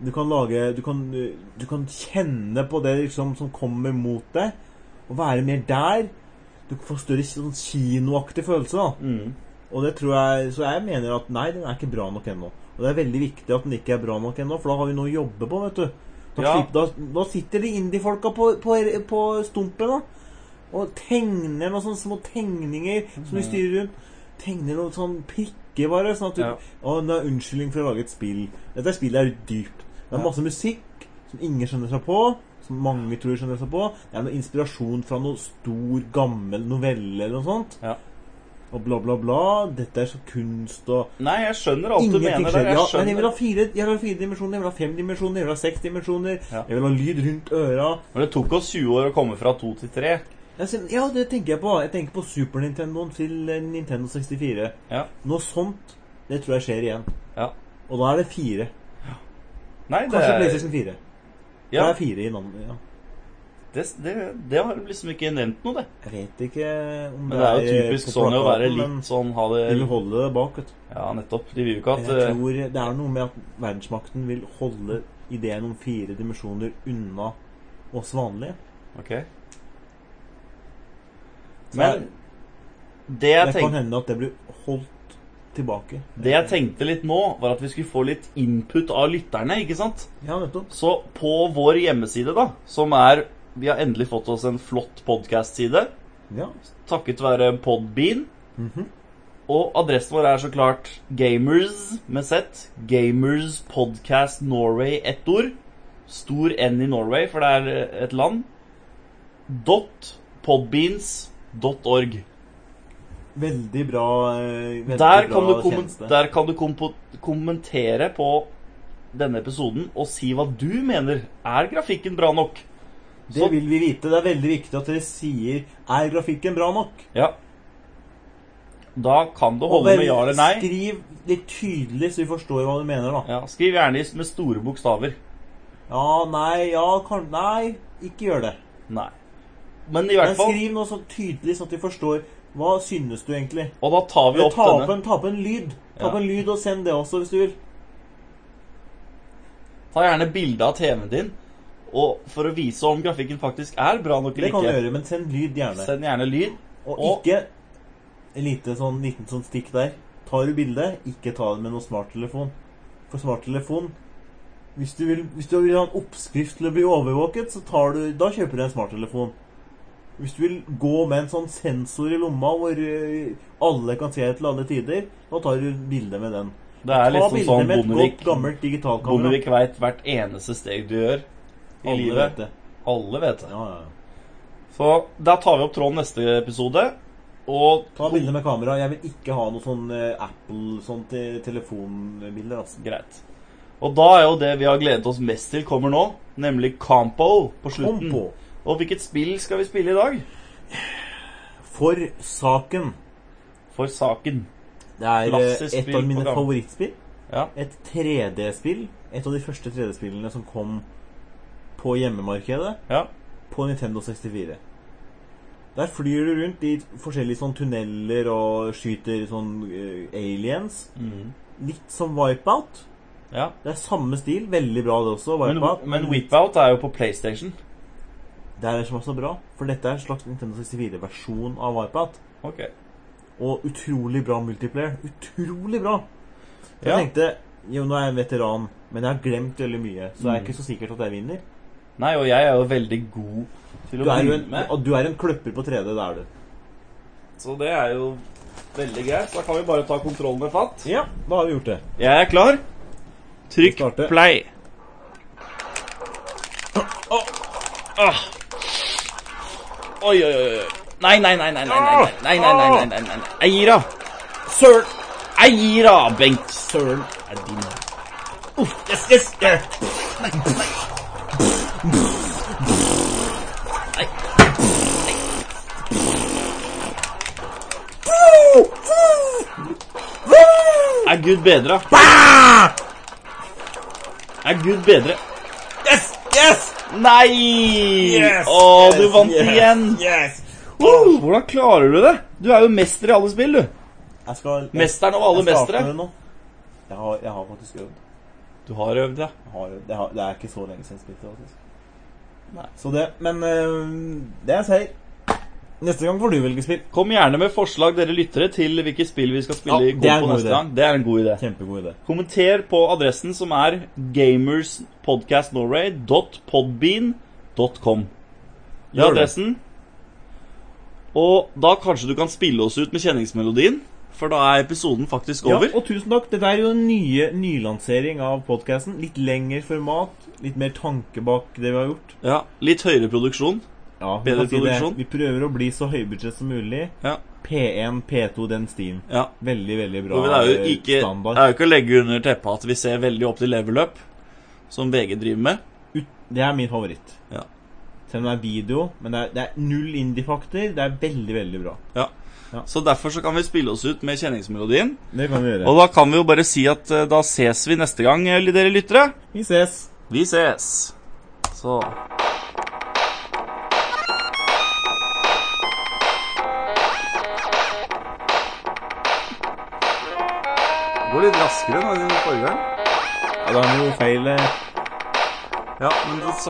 Speaker 2: Du kan lage Du kan, eh, du kan kjenne på det liksom som kommer mot deg. Og være mer der. Du får større sånn kinoaktig følelse, da.
Speaker 1: Mm.
Speaker 2: Og det tror jeg, Så jeg mener at nei, den er ikke bra nok ennå. Og det er veldig viktig at den ikke er bra nok ennå, for da har vi noe å jobbe på, vet du. Da,
Speaker 1: Ja.
Speaker 2: slipper- da, da sitter de indie-folka på, på, på stumpen da. og tegner noen sånne små tegninger som
Speaker 1: Mm.
Speaker 2: de styrer rundt. Tegner noen sånne prikker, bare. Sånn at du
Speaker 1: Ja.
Speaker 2: Å, det er unnskyldning for å lage et spill. Dette spillet er dypt. Det er
Speaker 1: Ja.
Speaker 2: masse musikk som ingen skjønner seg på. Som mange tror skjønner seg på. Det er noe inspirasjon fra noe stor, gammel novelle eller noe sånt.
Speaker 1: Ja.
Speaker 2: Og bla, bla, bla. Dette er så kunst og
Speaker 1: Nei, jeg skjønner alt du mener der.
Speaker 2: skjer. Ja,
Speaker 1: Jeg
Speaker 2: men jeg vil
Speaker 1: skjønner.
Speaker 2: ha fire, jeg vil ha fire dimensjoner, jeg vil ha fem dimensjoner, jeg vil ha seks dimensjoner.
Speaker 1: Ja.
Speaker 2: Jeg vil ha lyd rundt øra.
Speaker 1: Men det tok oss 20 år å komme fra 2 til 3.
Speaker 2: Jeg ser- Ja, det tenker jeg på. Jeg tenker på Super Nintendoen til eh, Nintendo 64.
Speaker 1: Ja.
Speaker 2: Noe sånt, det tror jeg skjer igjen.
Speaker 1: Ja.
Speaker 2: Og da er det fire.
Speaker 1: Nei, det
Speaker 2: Kanskje
Speaker 1: er-
Speaker 2: PlayStation 4.
Speaker 1: ja,
Speaker 2: Det er fire i navnet, ja.
Speaker 1: det, det, det har liksom ikke nevnt noe, det.
Speaker 2: Jeg vet ikke om
Speaker 1: Men det er jo typisk
Speaker 2: på
Speaker 1: Sony å være
Speaker 2: plakaten,
Speaker 1: litt sånn ha det
Speaker 2: men De vil holde det bak, vet du.
Speaker 1: Ja, nettopp. De vil jo ikke
Speaker 2: Men
Speaker 1: at
Speaker 2: Jeg
Speaker 1: eh,
Speaker 2: tror det er noe med at verdensmakten vil holde ideen om fire dimensjoner unna oss vanlige.
Speaker 1: eh, Ok.
Speaker 2: Så
Speaker 1: Men
Speaker 2: det-
Speaker 1: det jeg,
Speaker 2: det kan
Speaker 1: tenkte,
Speaker 2: hende at det blir holdt tilbake.
Speaker 1: det jeg tenkte litt nå, var at vi skulle få litt input av lytterne, ikke sant?
Speaker 2: Ja, nettopp.
Speaker 1: Så på vår hjemmeside, da, som er Vi har endelig fått oss en flott podkast-side,
Speaker 2: Ja.
Speaker 1: takket være Podbean.
Speaker 2: Mhm.
Speaker 1: Og adressen vår er så klart Gamers med Z. Gamers Podcast Norway, ett ord. Stor N i Norway, for det er eh, et land. Dot podbeans.org.
Speaker 2: Veldig bra eh, veldig
Speaker 1: Der
Speaker 2: bra
Speaker 1: kan du, kommen-
Speaker 2: tjeneste.
Speaker 1: der kan du kompo- kommentere på denne episoden og si hva du mener. Er grafikken bra nok?
Speaker 2: Det vil vi vite. Det er veldig viktig at dere sier Er grafikken bra nok?
Speaker 1: Ja. Da kan du
Speaker 2: Og
Speaker 1: holde
Speaker 2: vel,
Speaker 1: med ja eller nei.
Speaker 2: Skriv litt tydelig, så vi forstår hva du mener, da.
Speaker 1: Ja, skriv gjerne i- med store bokstaver.
Speaker 2: Ja, nei, ja, kan... Nei, ikke gjør det.
Speaker 1: Nei. Men i
Speaker 2: Men
Speaker 1: hvert fall
Speaker 2: skriv noe så tydelig sånn at vi forstår hva synes du egentlig.
Speaker 1: Og da tar vi
Speaker 2: Eller
Speaker 1: opp
Speaker 2: ta opp
Speaker 1: denne.
Speaker 2: en, ta opp en lyd. Ta opp
Speaker 1: Ja.
Speaker 2: en lyd og send det også, hvis du vil.
Speaker 1: Ta gjerne bilde av TV-en din og for å vise om grafikken faktisk er bra nok
Speaker 2: Det
Speaker 1: eller
Speaker 2: kan du
Speaker 1: ikke.
Speaker 2: gjøre, men send lyd gjerne.
Speaker 1: Send gjerne lyd.
Speaker 2: Og
Speaker 1: og-
Speaker 2: ikke en lite sånn, liten sånn stikk der. Tar du bilde, ikke ta det med noen smarttelefon. For smarttelefon hvis du, vil, hvis du vil ha en oppskrift til å bli overvåket, så tar du, da kjøper du en smarttelefon. Hvis du vil gå med en sånn sensor i lomma hvor ø, alle kan se til alle tider, da tar du bilde med den.
Speaker 1: Det er
Speaker 2: Ta
Speaker 1: liksom
Speaker 2: bilder
Speaker 1: sånn
Speaker 2: med et
Speaker 1: Bondevik
Speaker 2: godt, gammelt digitalkamera.
Speaker 1: Bondevik veit hvert eneste steg du gjør i
Speaker 2: Alle vet
Speaker 1: livet.
Speaker 2: det.
Speaker 1: Alle vet det.
Speaker 2: Ja, ja. ja.
Speaker 1: Så da tar vi opp tråden neste episode. Og
Speaker 2: Ta bilder med kamera. Jeg vil ikke ha noe sånn eh, Apple sånn te telefonbilder. Altså.
Speaker 1: Greit. Og da er jo det vi har gledet oss mest til, kommer nå. Nemlig Campo på
Speaker 2: Kom
Speaker 1: slutten.
Speaker 2: på.
Speaker 1: Og hvilket spill skal vi spille i dag?
Speaker 2: For saken.
Speaker 1: For saken.
Speaker 2: Det er eh,
Speaker 1: Klassisk
Speaker 2: et
Speaker 1: spill
Speaker 2: av mine
Speaker 1: på gang.
Speaker 2: favorittspill.
Speaker 1: Ja.
Speaker 2: Et 3D-spill. Et av de første 3D-spillene som kom på hjemmemarkedet
Speaker 1: Ja.
Speaker 2: på Nintendo 64. Der flyr du rundt i forskjellige sånn tunneler og skyter sånn eh, aliens.
Speaker 1: Mm.
Speaker 2: Litt som Wipeout.
Speaker 1: ja.
Speaker 2: Det er samme stil. Veldig bra, det også.
Speaker 1: Men,
Speaker 2: Wipeout.
Speaker 1: men Whipout er jo på PlayStation.
Speaker 2: Det er det som er så bra, for dette er en slags Nintendo 64-versjon av Wipeout.
Speaker 1: Ok.
Speaker 2: Og utrolig bra multiplayer. Utrolig bra! Så
Speaker 1: Ja.
Speaker 2: Jeg tenkte jo, nå er jeg en veteran, men jeg har glemt veldig mye, så det er
Speaker 1: Mm.
Speaker 2: ikke så sikkert at jeg vinner.
Speaker 1: Nei, og jeg er jo veldig god til
Speaker 2: Du
Speaker 1: å
Speaker 2: er jo
Speaker 1: bli
Speaker 2: en,
Speaker 1: med.
Speaker 2: og du er en kløpper på 3D, det er du.
Speaker 1: Så det er jo veldig greit. Da kan vi bare ta kontrollen med fatt.
Speaker 2: Ja, da har vi gjort det.
Speaker 1: Jeg er klar.
Speaker 2: Vi
Speaker 1: Trykk
Speaker 2: starter.
Speaker 1: play. Åh. Ah. Oi, oi, oi. oi. Nei, nei, nei, nei, nei, nei, nei, nei, nei, nei, nei, nei, nei. Jeg gir av. Søren. Jeg gir av, Bengt. Søren. Er din. Uff, yes, yes. Nei, nei. Nei. Er Gud bedre? Er Gud bedre?
Speaker 2: Yes! Yes!
Speaker 1: Nei!
Speaker 2: Yes!
Speaker 1: Å, du
Speaker 2: Yes!
Speaker 1: vant
Speaker 2: Yes!
Speaker 1: igjen!
Speaker 2: Yes!
Speaker 1: Wow, hvordan klarer du det? Du er jo mester i alle spill, du.
Speaker 2: Jeg skal, jeg,
Speaker 1: Mesteren av alle
Speaker 2: jeg starter
Speaker 1: mestere.
Speaker 2: med det nå. Jeg har, jeg har faktisk øvd.
Speaker 1: Du har øvd, ja.
Speaker 2: Jeg har, øvd. jeg har, det er ikke så eh, lenge siden jeg spilte, faktisk.
Speaker 1: Nei.
Speaker 2: Så det, men øh, det er en seier. Neste gang får du velge spill.
Speaker 1: Kom gjerne med forslag dere lyttere til hvilke spill vi skal spille
Speaker 2: Ja,
Speaker 1: i
Speaker 2: det er en
Speaker 1: Kompo
Speaker 2: god
Speaker 1: neste
Speaker 2: idé.
Speaker 1: gang. Det er en god idé.
Speaker 2: Kjempegod idé.
Speaker 1: Kommenter på adressen som er gamerspodcastnorway.podbean.com. Det er
Speaker 2: Gjør det.
Speaker 1: adressen. Og da kanskje du kan spille oss ut med kjenningsmelodien, for da er episoden faktisk
Speaker 2: Ja,
Speaker 1: over.
Speaker 2: og tusen takk. Dette er jo en nye nylansering av podkasten. Litt lengre format, litt mer tanke bak det vi har gjort.
Speaker 1: Ja, litt høyere produksjon.
Speaker 2: Ja, vi
Speaker 1: Bedre
Speaker 2: kan si det.
Speaker 1: produksjon.
Speaker 2: Vi prøver å bli så høybudsjett som mulig.
Speaker 1: Ja.
Speaker 2: P1, P2, den stien.
Speaker 1: Ja.
Speaker 2: Veldig, veldig bra
Speaker 1: Og det er jo ikke, det
Speaker 2: eh, standard.
Speaker 1: er jo ikke å legge under teppet at vi ser veldig opp til level up, som VG driver med.
Speaker 2: Ut- Det er min favoritt.
Speaker 1: Ja.
Speaker 2: Selv om det er video. Men det er, det er null indie-fakter. Det er veldig, veldig bra.
Speaker 1: Så derfor så kan vi spille oss ut med kjenningsmelodien.
Speaker 2: Det kan vi gjøre.
Speaker 1: Og da kan vi jo bare si at eh, da ses vi neste gang, eh, dere lyttere.
Speaker 2: Vi ses.
Speaker 1: Vi ses. Så Går litt raskere nå enn forrige gang.
Speaker 2: Ja, da har vi jo feil eh,
Speaker 1: Ja, men så